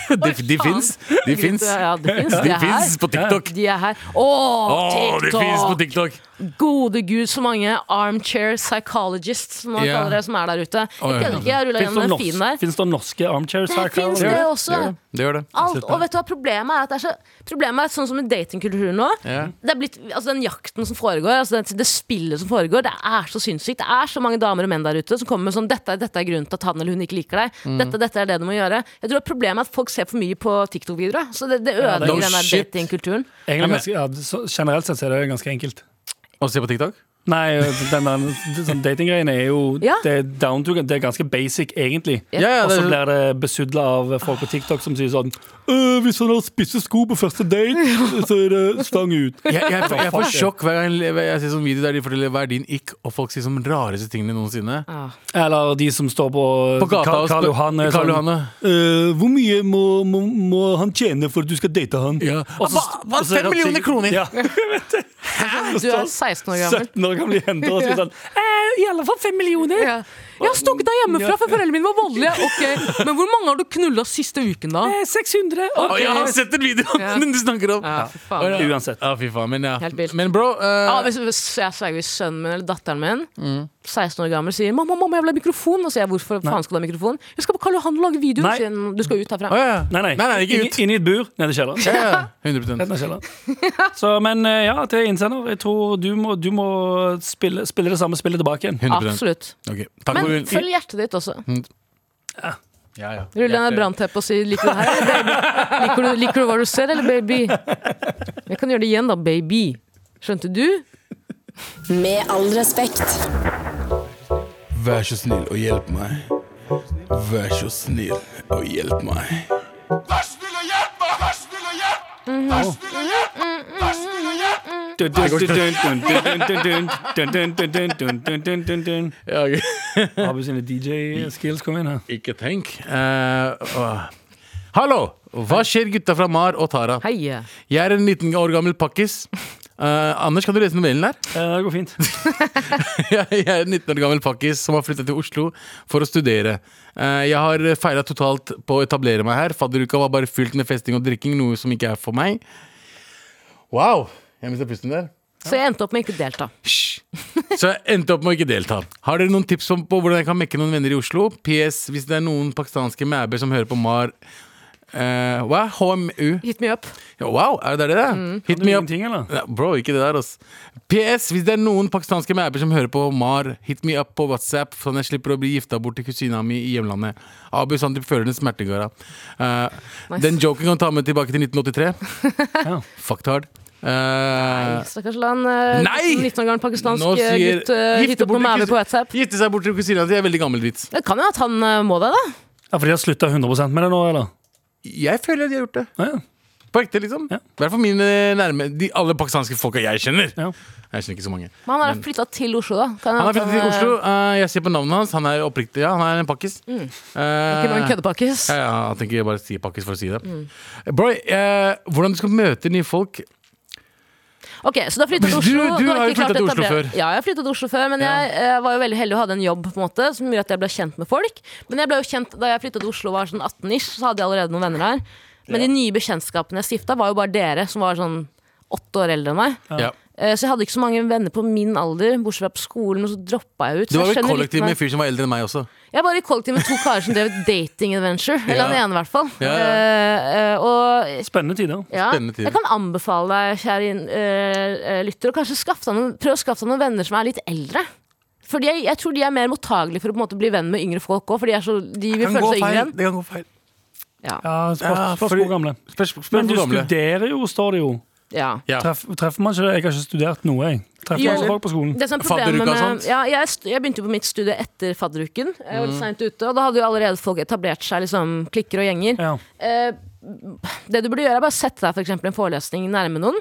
S3: De,
S2: Mm.
S3: de
S2: faen.
S3: fins! De fins
S2: Ja, det fins. De
S3: De
S2: er
S3: fins
S2: her.
S3: på TikTok!
S2: De er her. Åh,
S3: Å, de fins på
S2: TikTok!
S3: TikTok!
S2: Gode gud, så mange armchair psychologists som, man
S3: Ja.
S2: kaller det, som er der ute.
S3: Å, ja.
S2: Jeg kødder ikke, jeg rulla
S4: Fins
S2: gjennom
S4: det,
S2: den
S4: norsk,
S2: finen der.
S4: finnes det norske armchair
S2: Det fins det
S4: psychologists?
S2: også.
S3: Det gjør det.
S2: Alt, og vet du hva problemet er? At det er så, problemet er at sånn som i datingkulturen nå
S3: Ja.
S2: det er blitt, altså Den jakten som foregår, altså det, det spillet som foregår, det er så sinnssykt. Det er så mange damer og menn der ute som kommer med sånn dette, er- 'Dette er grunnen til at han eller hun ikke liker deg'. Dette, 'Dette er det du må gjøre'. Jeg tror at Problemet er at folk ser for mye på TikTok-videoer. da. Så det, det
S4: det-
S2: ødelegger
S3: No
S2: den der
S3: shit.
S2: datingkulturen.
S4: Egentlig ganske- Ja, så generelt sett så er det ganske enkelt.
S3: Å se på TikTok?
S4: Nei, den der det- sånn datinggreiene er jo
S2: Ja.
S4: det, er down to, det er ganske basic, egentlig.
S2: Ja,
S3: ja,
S4: Og så
S3: det- sånn-
S4: blir det besudla av folk på TikTok som sier sånn «Øh, Hvis han har spisse sko på første date, så er det stang ut.
S3: Jeg, jeg, jeg, får
S4: Fuck.
S3: sjokk hver gang jeg, jeg ser sånn video der de forteller hva er din ick, og folk sier sånn rareste tingene noensinne.
S4: Eller de som står på,
S3: På gata
S4: Karl,
S3: og
S4: Karl
S3: spør-
S4: Johan. er
S3: Karl
S4: sånn,
S3: Johan, ja.
S4: «Øh, hvor mye må, må, må han tjene for at du skal date han?
S3: Ja.
S4: Og så-
S3: Hva- hva,
S4: og så er
S3: fem
S4: det
S3: millioner
S4: sikkert-
S3: kroner?
S4: Ja, jeg vet det.
S2: Du er 16 år gammel.
S4: 17 år gamle jenter og sier sånn «Eh, I alle fall fem millioner.
S2: Ja. Jeg har stukket deg hjemmefra, for foreldrene mine var voldelige. Ok, Men hvor mange har du knulla siste uken, da?
S4: Eh, 600.
S3: Å, jeg har sett den videoen
S2: Ja.
S3: den du snakker om!
S2: Ja, fy faen.
S3: Å, ja.
S4: Uansett.
S3: Ja, fy faen. Men, ja.
S2: Helt vilt. Ah,
S3: men bro eh,
S2: Ja, hvis, hvis jeg sverger hvis sønnen min eller datteren min, 16 år gammel, sier 'mamma, mamma, jeg vil ha mikrofon', og sier jeg 'hvorfor faen skal du ha mikrofon'? 'Jeg skal på Karl Johan og lage video',
S4: Nei.
S2: sier han. 'Du skal ut herfra'.
S3: å, ja.
S4: Nei, nei.
S3: nei, ikke
S4: Inni-
S3: ut.
S4: Inni et bur, nede i kjelleren.
S3: Ja, ja, 100
S4: Nede i kjelleren. Så, men eh, ja, til innsender. Jeg tror du må, du må spille, spille det samme spillet tilbake igjen.
S3: 100%.
S2: Absolutt.
S3: Ok, Takk for
S2: Men følg hjertet ditt også.
S3: ja, ja.
S2: Rull ned et brannteppe og si 'liker du det her', eller baby? Liker du, liker du hva du ser, eller baby? Jeg kan gjøre det igjen, da, baby. Skjønte du?
S1: Med all respekt.
S6: Vær så snill og hjelp meg. Vær så snill og hjelp meg.
S4: Dun, dun, dun, dun, dun, dun, dun, dun, dun, dun, dun, dun, dun, dun, dun.
S3: Ja, ok.
S4: Abu sine DJ-skills kom inn her.
S3: Ikke tenk. Eh, åh. Hallo! Hva skjer, gutta fra Mar og Tara?
S2: Hei.
S3: Jeg er en 19 år gammel pakkis. Eh, Anders, kan du lese novellen her?
S4: Eh, Det går fint.
S3: jeg er en 19 år gammel pakkis som har flyttet til Oslo for å studere. Eh, Jeg har feira totalt på å etablere meg her. Fadderuka var bare fylt med festing og drikking, noe som ikke er for meg. Wow! Jeg mistet pusten der.
S2: Så jeg endte opp med ikke å delta.
S3: Hysj. Så jeg endte opp med å ikke delta. Har dere noen tips om- på hvordan jeg kan mekke noen venner i Oslo? PS. Hvis det er noen pakistanske mæber som hører på MAR eh, Hva? HMU?
S2: Hit me up.
S3: Ja, Wow, er det det det? er? Hit
S4: Mm, Kan du
S3: me up.
S4: ingenting, eller?
S3: Nei, Bro, ikke det der, ass. PS. Hvis det er noen pakistanske mæber som hører på Mar, hit me up på WhatsApp, sånn jeg slipper å bli gifta bort til kusina mi i hjemlandet. Abu Sandeep føler den smertegåra. Eh, Den joken kan ta med tilbake til 1983.
S4: Ja.
S3: Fucked hard. Eh,
S2: Stakkars land. eh,
S3: Nei!
S2: 19 år gammel pakistansk
S3: nå
S2: eh,
S3: sier
S2: gutt. eh,
S3: gifte
S2: Hit opp
S3: bort
S2: med
S3: til
S2: mæve
S3: kus-
S2: på WhatsApp.
S3: Gifte seg bort til kusina si er veldig gammel vits.
S2: Det kan jo at han eh, må det, da.
S4: Ja, for de har slutta 100 med det nå, eller?
S3: Jeg føler at de har gjort det.
S4: Ja, ja.
S3: På ekte, liksom.
S4: Ja.
S3: I hvert fall mine nærme De alle pakistanske folka jeg kjenner.
S4: Ja.
S3: Jeg kjenner ikke så mange.
S2: Men han har flytta til Oslo, da. Kan
S3: Han er flyttet til
S2: eh, Mm.
S3: Oslo. eh, jeg ser på navnet hans. Han er oppriktig. Ja, han er en pakkis. Eh,
S2: Ikke bare en køddepakkis.
S3: ja, ja, jeg tenker jeg bare
S2: Mm.
S3: eh, sier pakkis for å si det. Bro, eh, hvordan du skal møte nye folk
S2: Ok, Så du har flytta til
S3: Du-
S2: Oslo?
S3: du
S2: har
S3: har jo
S2: ikke klart
S3: flyttet til
S2: å
S3: Oslo
S2: etablere-
S3: før.
S2: Ja, jeg har flytta til Oslo før, men jeg eh, var jo veldig heldig og hadde en jobb på en måte som gjorde at jeg ble kjent med folk. Men jeg ble jo kjent da jeg flytta til Oslo og var sånn 18-ish, så hadde jeg allerede noen venner der. Men de nye bekjentskapene jeg stifta, var jo bare dere som var sånn åtte år eldre enn meg.
S3: Ja.
S2: Eh, Så jeg hadde ikke så mange venner på min alder, bortsett fra på skolen, og så droppa jeg ut.
S3: Du
S2: Så
S3: var
S2: jeg
S3: vel
S2: skjønner litt
S3: kollektiv med
S2: mer-
S3: en fyr som var eldre enn meg også.
S2: jeg var i kollektiv med to karer som drev et dating adventure. Eller han
S3: Ja.
S2: ene, i hvert fall.
S3: Ja, ja.
S2: Eh, eh, og
S4: Spennende tider.
S2: ja,
S3: Spennende tider.
S2: jeg kan anbefale deg, kjære eh, eh, lytter, å kanskje skaffe deg noen, prøv å skaffe deg noen venner som er litt eldre. Fordi jeg, jeg tror de er mer mottagelige for å på en måte bli venn med yngre folk òg. For de, er så, de vil føle seg yngre enn.
S3: Det kan gå feil.
S4: Ja,
S3: Ja,
S4: spørs spørs
S3: fordi-
S4: hvor gamle.
S3: Spørs spørs
S4: Men du
S3: hvor gamle.
S4: studerer jo, står det jo.
S2: Ja.
S3: Ja.
S4: Treff, treffer man ikke det? Jeg har ikke studert noe, jeg. Treffer
S2: Jo.
S4: masse folk på skolen.
S2: Det som er
S3: Fadderuka
S2: problemet
S3: og sånt? Mm.
S2: med, ja, jeg, st- jeg begynte jo på mitt studie etter fadderuken. Jeg var litt sent ute, og Da hadde jo allerede folk etablert seg, liksom, klikker og gjenger.
S4: Ja.
S2: Eh, det du burde gjøre, er bare å sette deg for eksempel en forelesning nærme noen.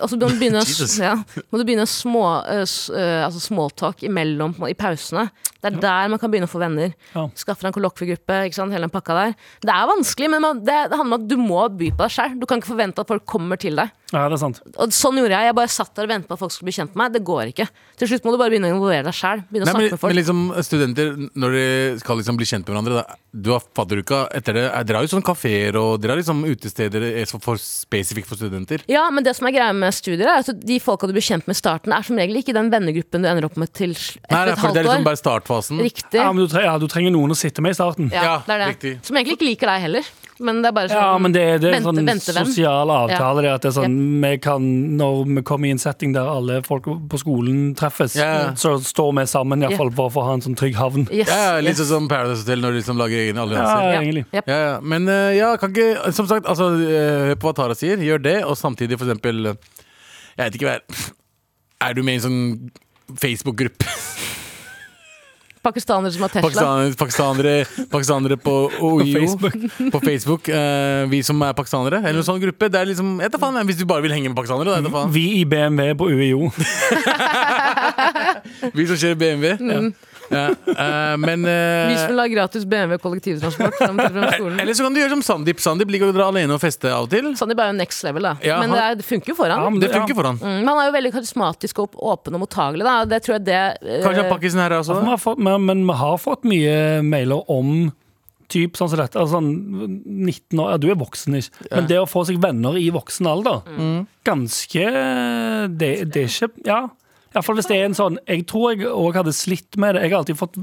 S2: Og så må du begynne, å-
S3: Jesus.
S2: ja, må du begynne å små, eh, s- eh, altså smalltalk imellom på en måte, i pausene. Det er der man kan begynne å få venner.
S4: Ja.
S2: Skaffe deg en kollokviegruppe. ikke sant, Hele den pakka der. Det er vanskelig, men man, det, det handler om at du må by på deg sjøl. Du kan ikke forvente at folk kommer til deg.
S4: ja, det er sant.
S2: Og sånn gjorde Jeg jeg bare satt der og ventet på at folk skulle bli kjent med meg. Det går ikke. Til slutt må du bare begynne å involvere deg sjøl. Begynne å snakke
S3: Nei, men,
S2: med
S3: men
S2: folk.
S3: liksom studenter, når de skal liksom bli kjent med hverandre da, Du har fadderuka etter det. Dere har jo sånn kafeer og dere har liksom utesteder er så for spesifikt for studenter.
S2: Ja, men det som er greia med studier, er at de folka du blir kjent med i starten, er som regel ikke den vennegruppen du ender opp med til sl-
S3: Nei,
S2: etter
S3: nei,
S2: et
S3: for
S2: halvt
S3: det er
S2: år.
S3: liksom bare startfasen.
S2: Riktig.
S4: Ja, men du, tre, ja, du trenger noen å sitte med i starten.
S2: Ja,
S3: Ja,
S2: det er det.
S3: riktig.
S2: Som egentlig ikke liker deg heller. Men det er bare sånn
S4: Ja, men det, det er en
S2: vente-
S4: sånn
S2: ventevenn.
S4: sosial avtale. Det at det er sånn,
S2: Jep.
S4: vi kan, Når vi kommer i en setting der alle folk på skolen treffes,
S3: Ja.
S4: så står vi sammen i hvert fall for å få ha en sånn trygg havn.
S2: Yes.
S3: Ja, ja, litt sånn som Paradise Hotel når de liksom lager egne allianser.
S4: Ja,
S2: Ja.
S4: egentlig.
S2: Jep.
S3: Ja, ja. Men eh, ja, kan ikke Som sagt, altså, eh, hør på hva Tara sier. Gjør det, og samtidig for eksempel eh, Jeg vet ikke hva er Er du med i en sånn Facebook-gruppe?
S2: Pakistanere som har Tesla.
S3: Pakistanere, pakistanere, pakistanere på OIO. På Facebook. eh, vi som er pakistanere. Eller en sånn gruppe. Det er liksom, jeg vet da faen, jeg, Hvis du bare vil henge med pakistanere, da. jeg vet da faen.
S4: Vi i BMW på UiO.
S3: Vi som kjører BMW. Ja. eh, men eh,
S2: Vi som vil ha gratis BMW kollektivtransport fram til fra skolen.
S3: Eller så kan du gjøre som Sandeep. Sandeep liker å dra alene og feste av og til.
S2: Sandeep er jo next level, da.
S3: Ja,
S2: men det, er, det funker jo for han.
S4: Ja, men
S3: Det funker for han.
S2: Mm, han er jo veldig karismatisk og åpen og mottagelig. Da. og Det tror jeg det eh,
S3: Kanskje han pakkisen her også.
S4: Vi har fått, men, men vi har fått mye mailer om typ sånn som dette. Altså, sånn 19 år, ja, Mm. du er voksen, ikke? Men det å få seg venner i voksen alder, ganske det, det er ikke Ja. Iallfall hvis det er en sånn Jeg tror jeg òg hadde slitt med det. Jeg har alltid fått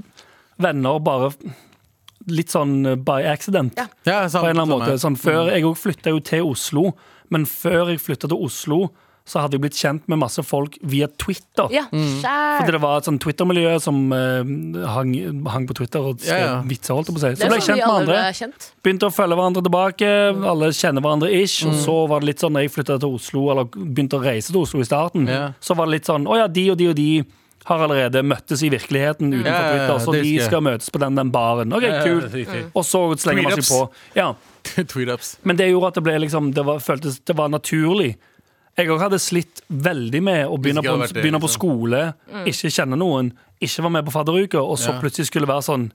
S4: venner bare litt sånn by accident.
S3: Ja, sant,
S4: På en eller annen måte.
S3: samme.
S4: Sånn, før, jeg òg flytta jo til Oslo, men før jeg flytta til Oslo, så hadde jeg blitt kjent med masse folk via Twitter.
S2: Ja,
S4: Fordi
S2: skjær.
S4: det var et sånn Twitter-miljø som eh, hang, hang på Twitter og skrev
S3: Ja, ja.
S4: vitser. holdt jeg på å si.
S2: Det
S4: Så
S2: er
S4: ble jeg
S2: sånn vi
S4: kjent med
S2: alle
S4: andre.
S2: ble kjent.
S4: Begynte å følge hverandre tilbake. Alle kjenner hverandre ish.
S3: Mm.
S4: Og så var det litt sånn, når jeg flytta til Oslo, eller begynte å reise til Oslo i starten,
S3: Ja.
S4: så var det litt sånn Å ja, de og de og de har allerede møttes i virkeligheten utenfor
S3: Ja, ja, ja,
S4: Twitter, så
S3: det
S4: de
S3: husker jeg.
S4: skal møtes på den, den baren. OK, kult. Og så slenger man seg på.
S3: Tweet-ups.
S4: Ja.
S3: Tweet-ups.
S4: Men det gjorde at det ble liksom Det var, føltes det var naturlig. Jeg òg hadde slitt veldig med å begynne
S3: ikke
S4: på,
S3: hadde vært det,
S4: begynne på
S3: liksom.
S4: skole, ikke kjenne noen, ikke være med på fadderuka, og så
S3: Ja.
S4: plutselig skulle være sånn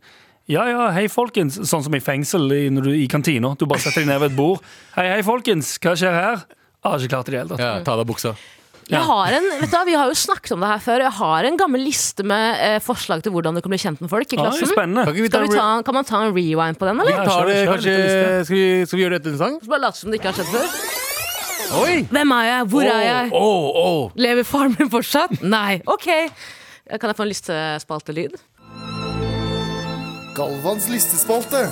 S4: ja, ja, hei folkens, sånn som i fengsel i, når du, i kantina. Du bare setter deg ned ved et bord. Hei, hei folkens, hva skjer her? Jeg har ikke klart det i det hele tatt.
S3: Ja, ta av deg buksa.
S4: Ja.
S2: Jeg har en, vet du, hva, vi har jo snakket om det her før. og Jeg har en gammel liste med eh, forslag til hvordan du kan bli kjent med folk i
S4: Ja, det er
S2: klassen.
S4: spennende.
S3: Kan ikke vi ta,
S2: Skal vi ta, kan man ta en rewind på den, eller?
S4: Ja,
S3: ta
S4: kjør,
S3: det,
S4: kjør,
S3: kanskje,
S4: litt liste.
S3: skal, vi, skal vi gjøre det etter en sang?
S2: Så Bare late som det ikke har skjedd før.
S3: Oi!
S2: Hvem er jeg? Hvor er jeg?
S3: Å, å, å.
S2: Lever faren min fortsatt? Nei. Ok. Kan jeg få en listespaltelyd?
S8: Galvans listespalte.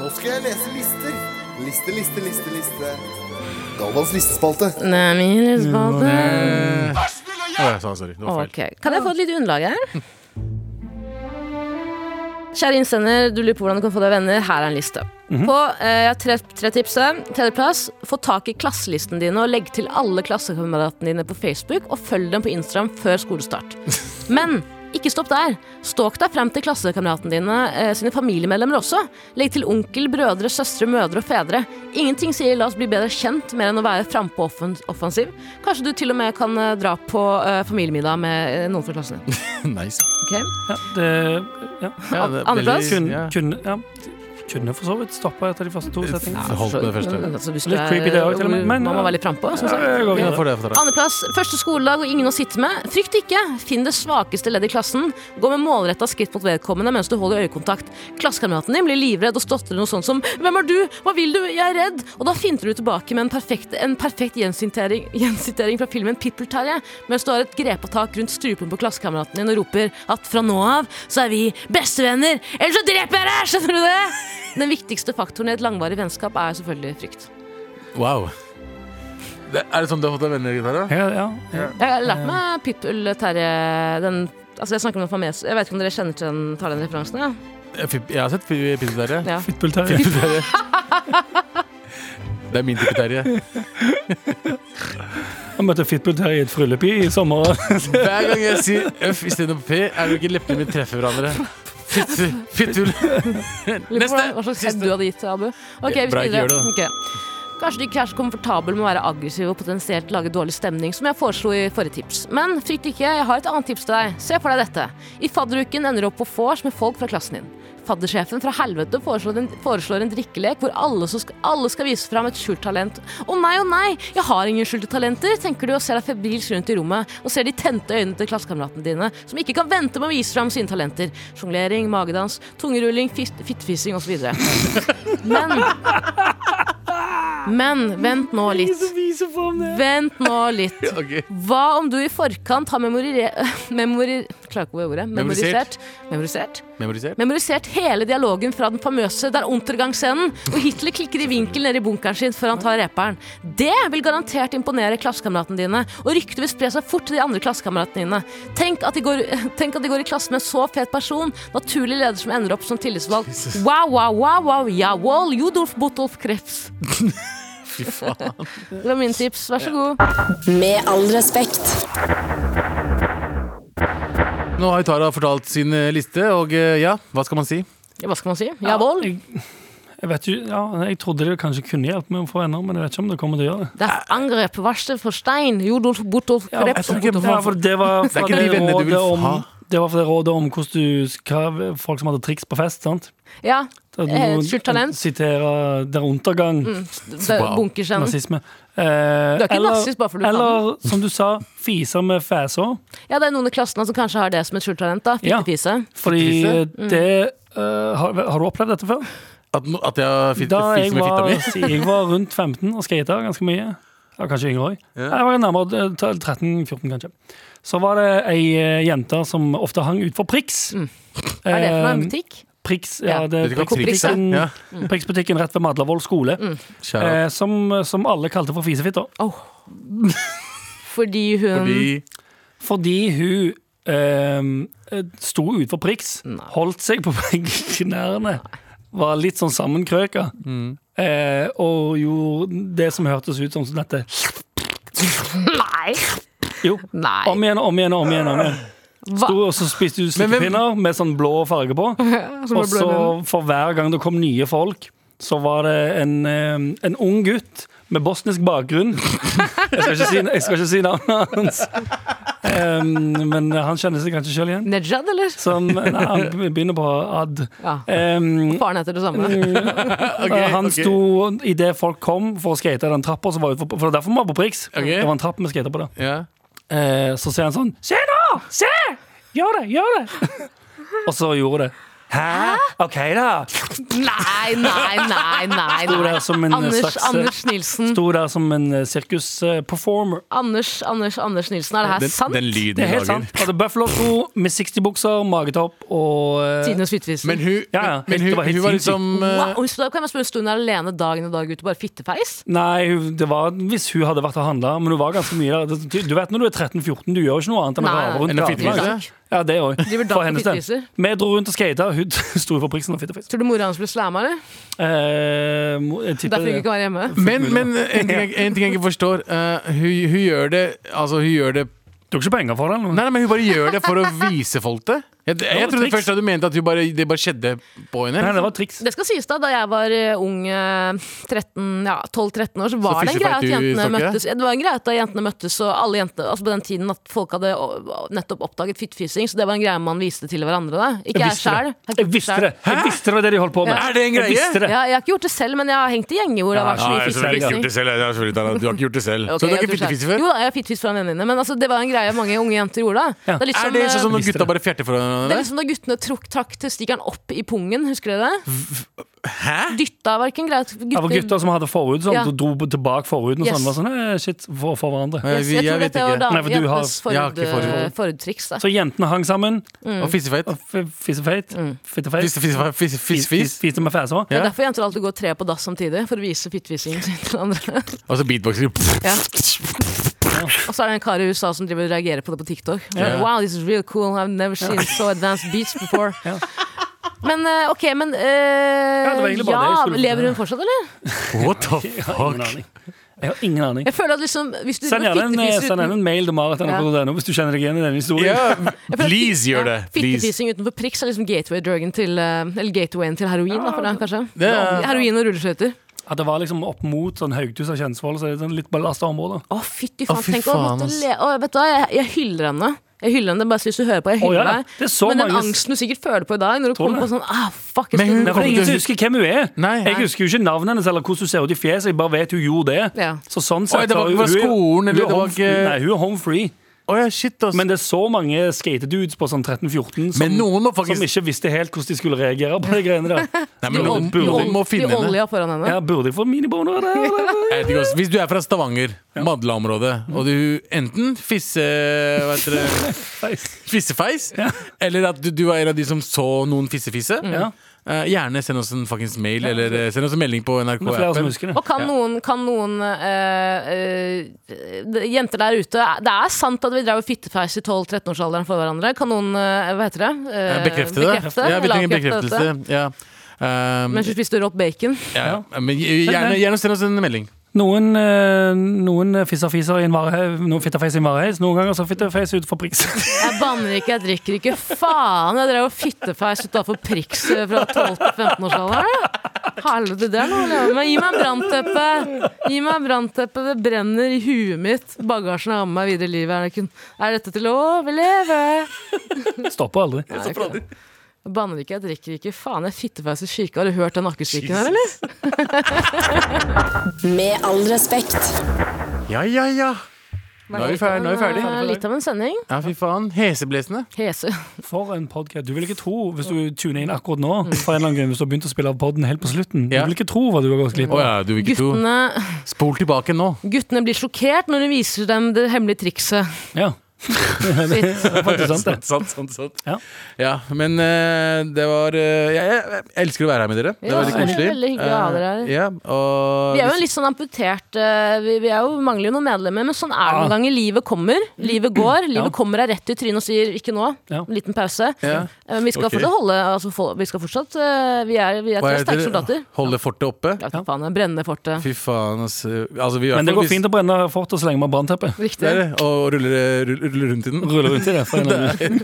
S8: Nå skal jeg lese lister. Liste, liste, liste, liste. Galvans listespalte.
S2: Nei, min listespalte.
S3: Å, jeg sa sorry, det var feil.
S2: Ok. Kan jeg få et lite underlag her? Kjære innsender, du lurer på hvordan du kan få deg venner. Her er en liste. På, eh, jeg har tre, tre tips. her. Tredjeplass, få tak i klasselistene dine og legg til alle klassekameratene dine på Facebook, og følg dem på Instagram før skolestart. Men ikke stopp der. Stalk deg frem til klassekameratene dine eh, sine familiemedlemmer også. Legg til onkel, brødre, søstre, mødre og fedre. Ingenting sier 'la oss bli bedre kjent' mer enn å være frampå offen- offensiv. Kanskje du til og med kan eh, dra på eh, familiemiddag med eh, noen fra klassen din.
S3: Nice.
S2: Ok?
S4: Ja, det, ja.
S3: Ja, det er
S2: Andreplass?
S3: veldig-
S4: Kun,
S3: ja.
S4: kun, ja. kunne for så vidt stoppa etter de første to setningene.
S3: Holdt med det første.
S2: Altså, hvis
S4: Litt
S2: du er-
S4: creepy det også, til og med, men-
S2: Man må være litt frampå.
S4: Ja, jeg går
S3: Ja,
S4: videre.
S3: for det, for det.
S2: Andreplass. Første skoledag og ingen å sitte med. Frykt ikke. Finn det svakeste leddet i klassen. Gå med målretta skritt mot vedkommende mens du holder øyekontakt. Klassekameraten din blir livredd og stotrer noe sånt som 'Hvem er du? Hva vil du? Jeg er redd!' Og da finter du tilbake med en perfekt, en perfekt gjensitering, gjensitering fra filmen Pippelterje, mens du har et grepetak rundt strupen på klassekameraten din og roper at 'fra nå av så er vi bestevenner, ellers så dreper jeg deg!' Skjønner du det? Den viktigste faktoren i et langvarig vennskap er selvfølgelig frykt.
S3: Wow. Det, er det sånn du har fått deg venner, Gitar?
S4: Ja, ja, ja.
S2: Jeg har lært meg Pitbull Terje den, Altså jeg snakker om Fames Jeg vet ikke om dere kjenner til den, tar den referansen ja.
S3: Jeg har sett Pizzeria.
S2: Ja.
S4: Pitbull Terje.
S3: Det er min type Terje.
S4: Jeg møtte Fitbull Terje i et bryllup i i sommer.
S3: Hver gang jeg sier F istedenfor P, er det ikke leppene mine treffer hverandre. Fitt- Fittul.
S2: Lurer på
S3: Neste!
S2: Hva slags head du hadde gitt til Abu Ok, vi skal
S3: Bra jeg ikke
S2: videre
S3: gjør
S2: Ok. Kanskje du ikke er så komfortabel med å være aggressiv og potensielt lage dårlig stemning, som jeg foreslo i forrige tips. Men frykt ikke, jeg har et annet tips til deg. Se for deg dette. I fadderuken ender du opp på vors med folk fra klassen din. Faddersjefen fra helvete foreslår en, foreslår en drikkelek hvor alle, som skal, alle skal vise fram et skjult talent. Å nei, å nei, jeg har ingen skjulte talenter, tenker du og ser deg febrilsk rundt i rommet og ser de tente øynene til klassekameratene dine, som ikke kan vente med å vise fram sine talenter. Sjonglering, magedans, tungerulling, fist- fittefissing osv. Men men vent nå litt. Vent nå litt.
S3: Ok.
S2: Hva om du i forkant har memorire... Memori... Klarer ikke å ordet. Memorisert.
S3: Memorisert.
S2: Memorisert.
S3: Memorisert?
S2: Memorisert hele dialogen fra den famøse Der Untergang-scenen, hvor Hitler klikker i vinkel nede i bunkeren sin før han tar reperen. Det vil garantert imponere klassekameratene dine, og ryktet vil spre seg fort til de andre klassekameratene dine. Tenk at, de går, tenk at de går i klasse med en så fet person, naturlig leder som ender opp som tillitsvalgt. Wow, wow, wow, wow, ja, wall, Judolf Botolf Krebs.
S3: Fy faen.
S2: Det var mine tips, vær så god.
S1: Med all respekt.
S3: Nå har Tara fortalt sin eh, liste, og eh, ja, hva skal man si?
S2: Ja, Hva skal man si? Ja, vold.
S4: Jeg, jeg vet jo, ja, jeg trodde det kanskje kunne hjelpe meg å få venner, men jeg vet ikke om det kommer til å gjøre det.
S2: Det er angrep, varsel for stein, Jodolf, Botolf,
S4: Ja,
S2: Kreps og Botolf.
S4: Ja, for det var fra
S3: ikke de
S4: det
S3: vennene du vil
S4: rådet om,
S3: ha.
S4: det var fra det rådet om hvordan du skrev folk som hadde triks på fest. sant?
S2: Ja,
S4: Da du
S2: Eh, skjult talent.
S4: Sitere der undergang,
S2: det er
S3: Wow.
S2: bunkersen.
S4: nazisme. Eh,
S2: Du er ikke nazist bare fordi du kan
S4: Eller som du sa, fiser med fæser.
S2: Ja, det er noen i klassen som kanskje har det som et skjult talent, da.
S4: Ja.
S2: Fittefise.
S4: Fordi
S3: Fittefise?
S4: det
S2: Mm.
S4: eh, har, har du opplevd dette før?
S3: At, no- at jeg fit,
S4: Da jeg
S3: fikser med fitta
S4: var,
S3: mi?
S4: jeg var rundt 15 og skata ganske mye. Ja, kanskje yngre òg. Jeg var nærmere eh, 13-14, kanskje. Så var det ei eh, jente som ofte hang utfor Prix.
S2: Mm. Hva er det for noe? En
S4: Eh,
S2: butikk?
S4: Prix, ja,
S2: Ja. Mm.
S4: det
S3: Vet du hva Prix er?
S4: Prix-butikken
S3: Ja.
S4: Prix rett ved Madlavoll skole,
S3: Kjære.
S4: eh, som, som alle kalte for fisefitter.
S2: Fordi
S4: Eh,
S2: hun
S3: Fordi
S4: Fordi hun eh, sto utenfor Prix, holdt seg på begge knærne, var litt sånn sammenkrøka,
S3: Mm.
S4: eh, og gjorde det som hørtes ut som sånn dette.
S2: Nei!
S4: Jo,
S2: Nei.
S4: om igjen og om igjen og om igjen. Om igjen.
S2: Hva?
S4: Sto, og så spiste du slikkepinner med sånn blå farge på. Og så for hver gang det kom nye folk, så var det en, eh, en ung gutt med bosnisk bakgrunn. Jeg skal ikke si, jeg skal ikke si navnet hans, Eh, men han kjenner seg kanskje sjøl igjen.
S2: Nejad, eller?
S4: Som nei, han begynner på ad.
S2: Ja.
S4: Em,
S2: Faren heter det samme.
S4: Mm. han
S3: ok.
S4: sto idet folk kom for å skate den trappa som var utenfor. For det er derfor vi var på Prix. Det var en trapp med skater på det.
S3: ja.
S4: Eh, så ser han sånn Se nå! Se! Gjør det! Gjør det! Og så gjorde det. Hæ? OK, da.
S2: Nei, nei, nei, nei.
S4: Sto
S2: nei.
S4: der som en
S2: Anders,
S4: slags eh,
S2: Anders Nilsen.
S4: Sto der som en eh, sirkusperformer.
S2: Anders, Anders, Anders Nilsen. Er det her
S3: Den,
S2: sant?
S3: den lyden
S4: Det er
S3: hun
S4: helt
S3: lager.
S4: sant. Hadde Buffalo-sko med 60-bukser, magetopp og eh,
S2: Tidenes fittefise.
S3: Men hun,
S4: Ja, ja.
S3: men
S4: Det
S3: hun,
S4: var helt
S3: hun var
S4: sinnssykt.
S3: liksom eh,
S2: Wow, og så da kan jeg spørre, Sto hun der alene dagen og dag ut og bare fittefeis?
S4: Nei, hun- det var hvis hun hadde vært og handla, men hun var ganske mye der. Du- Du vet når du er 13-14, du gjør jo ikke noe annet enn å
S2: Nei,
S4: grave rundt
S3: enn å
S4: gatene.
S3: fittefise.
S4: Ja, det òg.
S2: Driver da
S4: For
S2: på
S4: hennes del.
S2: fittefiser?
S4: Vi dro rundt og skata, hun sto for priksen og fittefis.
S2: Tror du mora hans ble slamma, eller?
S4: Eh, mo- jeg tipper
S2: Derfor hun
S4: det.
S2: ikke kan være hjemme?
S3: Men, men en, ting jeg, en ting jeg ikke forstår eh, hun, hun gjør det Altså, hun gjør det
S4: Du tok ikke penger for det? eller noe?
S3: Nei, nei, men hun bare gjør det for å vise folk det. Jeg, jeg,
S4: var
S3: trodde
S4: triks.
S3: først at du mente at du bare, det bare skjedde på henne.
S4: Nei, det var et triks.
S2: Det skal sies da, da jeg var eh, ung, eh, 13, ja, 12-13 år, så var det en greie
S3: fiskefight
S2: at
S3: du
S2: jentene
S3: snakker?
S2: møttes. Ja, Det var en greie at da jentene møttes, og alle jentene, altså på den tiden at folk hadde å- nettopp oppdaget fittfysing, så det var en greie man viste til hverandre da. Ikke jeg,
S4: visste
S2: selv.
S4: det. Jeg visste det Jeg visste det var det de holdt på med.
S3: Er det en greie?
S4: Jeg visste det.
S2: Ja, jeg har ikke gjort det selv, men jeg har hengt i gjenger hvor det har vært så
S7: Nei,
S2: mye
S7: jeg har ikke
S2: fittfysing.
S7: gjort det selv. Jeg har selvfølgelig ikke- Du har ikke gjort det selv.
S2: Ok,
S3: Så du har
S2: jeg
S3: ikke
S2: tror
S3: fittefising
S2: selv.
S3: før?
S2: Jo da, jeg har fittfist fra vennene dine, men altså, det var en greie mange unge jenter gjorde da.
S4: Ja.
S2: Det er litt
S3: Er
S2: som,
S3: det sånn
S2: eh,
S3: som når
S4: Visste
S3: gutta
S4: det.
S3: bare fjerter for
S2: det er
S3: hverandre?
S2: liksom da guttene trakk, trakk testikkeren opp i pungen, husker dere det?
S3: Hæ?
S2: Dytta var ikke en greie. at
S4: Det var Mm. gutter som hadde forhud, sånn,
S2: Ja.
S4: og dro tilbake forhuden og
S2: Yes.
S4: sånn. var sånn, eh, shit, for, for hverandre.
S3: Jeg,
S2: Yes, jeg, tror
S3: vet
S2: dette var
S3: ikke.
S4: Nei, for du har-
S2: jentes
S3: jeg har ikke
S2: forhud-
S3: forhud.
S2: forhudtriks. eh, da.
S4: Så jentene hang sammen.
S3: Og fisefeit.
S4: F- Fisefeit.
S2: Mm.
S4: Fittefeit.
S3: Fis- fis- fis- fis- fis.
S4: Fiste med fæsa.
S2: Det er
S3: Ja.
S2: derfor jenter alltid går tre på dass samtidig, for å vise fittvisingen sin til andre.
S3: Og så beatboxer.
S2: Ja. Og så er det en kar i USA som driver og reagerer på det på TikTok.
S3: Ja.
S2: Wow, this is real cool, I've never seen so advanced beats before. Men eh, ok, men eh,
S4: det var egentlig bare det jeg
S2: ja,
S4: skulle-
S2: Lever hun fortsatt, eller?
S3: What the
S4: Jeg har ingen
S3: fuck?
S4: aning. Jeg har ingen aning.
S2: Jeg føler at liksom Hvis du
S4: Send gjerne en, eh,
S2: fittefis
S4: send gjerne
S2: uten,
S4: en mail til marit.nrk.no hvis du kjenner deg igjen i denne historien.
S3: Ja,
S7: Please gjør
S2: ja,
S7: det. Please.
S2: fittefising utenfor priks er liksom gateway-drugen til eh, Eller gatewayen til heroin, da, for det, er kanskje.
S3: Det er-
S2: Heroin og rulleskøyter.
S4: At det var liksom opp mot sånn Haugtus og Kjensvoll, så er det sånn litt belasta områder.
S2: Å, fytti faen.
S3: Å, fy
S2: tenk å
S3: faen,
S2: måtte
S3: ass.
S2: le å, Vet du hva, jeg, jeg hyller henne. Jeg hyller henne, det er bare så hvis du hører på. Jeg
S4: Å,
S2: hyller
S4: ja,
S2: deg.
S4: det er så
S2: Men den
S4: mange-
S2: angsten du sikkert føler på i dag, når du
S4: Tror du
S2: kommer på
S4: det?
S2: sånn ah, fuck, jeg
S3: Men hun
S2: skulle
S4: Nei, for det er ingen som husker hvem hun er.
S3: Nei.
S4: Jeg husker jo ikke navnet hennes eller hvordan hun ser ut i fjeset. Jeg bare vet hun gjorde det.
S2: Ja.
S4: Så
S3: Oi,
S4: sånn sett
S3: det var-
S4: så er
S3: var
S4: hun-
S3: skolen, eller
S4: hun er
S3: det var
S4: home
S3: ikke-
S4: free. Nei, hun er home free.
S3: Å ja, shit, ass.
S4: Men det er så mange skatedudes på sånn 13-14 som,
S3: Men noen må
S4: som
S3: faktisk
S4: ikke visste helt hvordan de skulle reagere på de greiene der.
S3: Nei, men noen,
S4: burde-
S3: noen må
S2: De
S3: finne henne.
S2: olja foran henne.
S4: Ja, burde jeg få miniboner der? eller?
S3: Jeg vet ikke, ass. Hvis du er fra Stavanger, Madla-området, og du enten fisse... Hva heter det?
S4: Nice.
S3: Fissefeis, eller at du, du var en av de som så noen fissefisse,
S4: Ja.
S3: eh, gjerne send oss en fuckings mail, eller eh, send oss en melding på
S4: Det er flere som
S3: NRK-appen.
S4: husker det.
S2: Og kan noen, kan noen eh, eh, de- jenter der ute Det er sant at vi drev og fittefeis i 12-13-årsalderen for hverandre. Kan noen eh, hva heter det? Eh,
S3: Bekrefte det. Ja,
S2: eller
S3: vi trenger en
S2: avkrefte dette?
S3: bekreftelse. Ja. Um,
S2: Mens du spiste rått bacon.
S3: ja, ja. Men gjerne, gjerne send oss en melding.
S4: Noen, eh, noen fisser-fiser i en varehaug, noen fittefeiser i en vareheis. Noen ganger så fittefeiser utenfor priks.
S2: Jeg banner ikke, jeg drikker ikke. Faen, jeg drev og fittefeis utafor Prix eh, fra 12- til 15-årsalderen. Helvete, det er noe å leve med. Gi meg en brannteppe! Gi meg en brannteppe, det brenner i huet mitt. Bagasjen er med meg videre i livet. Er, det kun, er dette til å overleve?
S4: Stopper aldri.
S2: Nei, det er ikke det. Jeg banner ikke, jeg drikker ikke. Faen, jeg fittefeis i kirka. Har du hørt den akkestikken her, eller?
S1: Med all respekt.
S3: Ja, ja, ja. Nå er vi ferdig. Nå er vi ferdig.
S2: Eh, Litt av en sending.
S3: Ja, fy faen. Heseblesende.
S2: Hese.
S4: For en podcast. Du vil ikke tro, hvis du tuner inn akkurat nå, for en eller annen grunn, hvis du har begynt å spille av podden helt på slutten,
S3: Ja.
S4: du vil ikke tro hva du har gått glipp
S3: Å
S4: av.
S3: ja, du vil ikke tro.
S2: Guttene,
S3: Spol tilbake nå.
S2: guttene blir sjokkert når du viser dem det hemmelige trikset.
S4: Ja. Det er faktisk sant, det.
S3: Sant, sant, sant.
S4: Ja.
S3: Ja, men eh, det var eh, jeg, jeg, jeg elsker å være her med dere. Det
S2: Ja,
S3: var veldig
S2: det er
S3: koselig.
S2: veldig hyggelig å ha dere her.
S3: Eh, ja, og
S2: Vi er jo en litt sånn amputert eh, Vi, vi er jo, mangler jo noen medlemmer, men sånn er det
S3: Ah.
S4: Ja.
S2: noen ganger. Livet kommer, livet går. Livet
S4: Ja.
S2: kommer deg rett i trynet og sier 'ikke nå'.
S4: Ja.
S2: En liten pause.
S3: Ja.
S2: Eh, Men vi skal
S3: Ok.
S2: fortsatt holde altså, fo- Vi skal fortsatt eh, Vi er, vi er
S3: Hva
S2: tre
S3: heter
S2: sterke
S3: det?
S2: soldater.
S3: Holde fortet oppe.
S2: Ja, fy faen, jeg brenner fortet.
S3: Fy faen, altså. altså vi,
S4: Men det går fint å brenne fort og så lenge man har brannteppe.
S2: Riktig.
S3: det er det, og rulle, rulle, rulle rundt i den.
S4: Ruller rundt i det. For en eller annen grunn.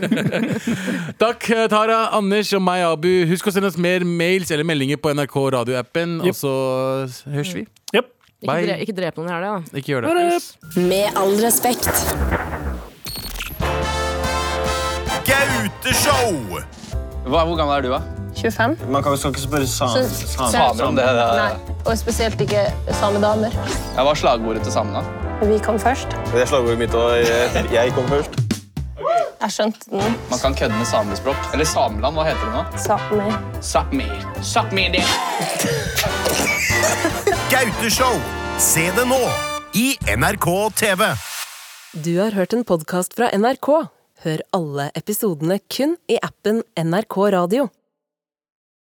S3: Takk, eh, Tara, Anders og meg, Abu. Husk å sende oss mer mails eller meldinger på NRK radioappen,
S4: Jep.
S3: og så høres vi.
S4: Jep.
S2: Ikke,
S3: Bye.
S2: dre, ikke drep noen i helga, da.
S3: Ikke gjør det.
S1: Med all respekt.
S5: Gauteshow!
S9: Og spesielt ikke samedamer.
S10: Jeg var slagordet til samene.
S9: Vi kom først.
S10: Det er slagordet mitt, og jeg, kom først.
S9: Jeg skjønte den.
S10: Man kan kødde med samespråk. Eller Sameland, hva heter det nå?
S9: Sápmi.
S10: Sápmi. Sápmi det.
S5: Gauteshow! Se det nå i NRK TV.
S11: Du har hørt en podkast fra NRK. Hør alle episodene kun i appen NRK Radio.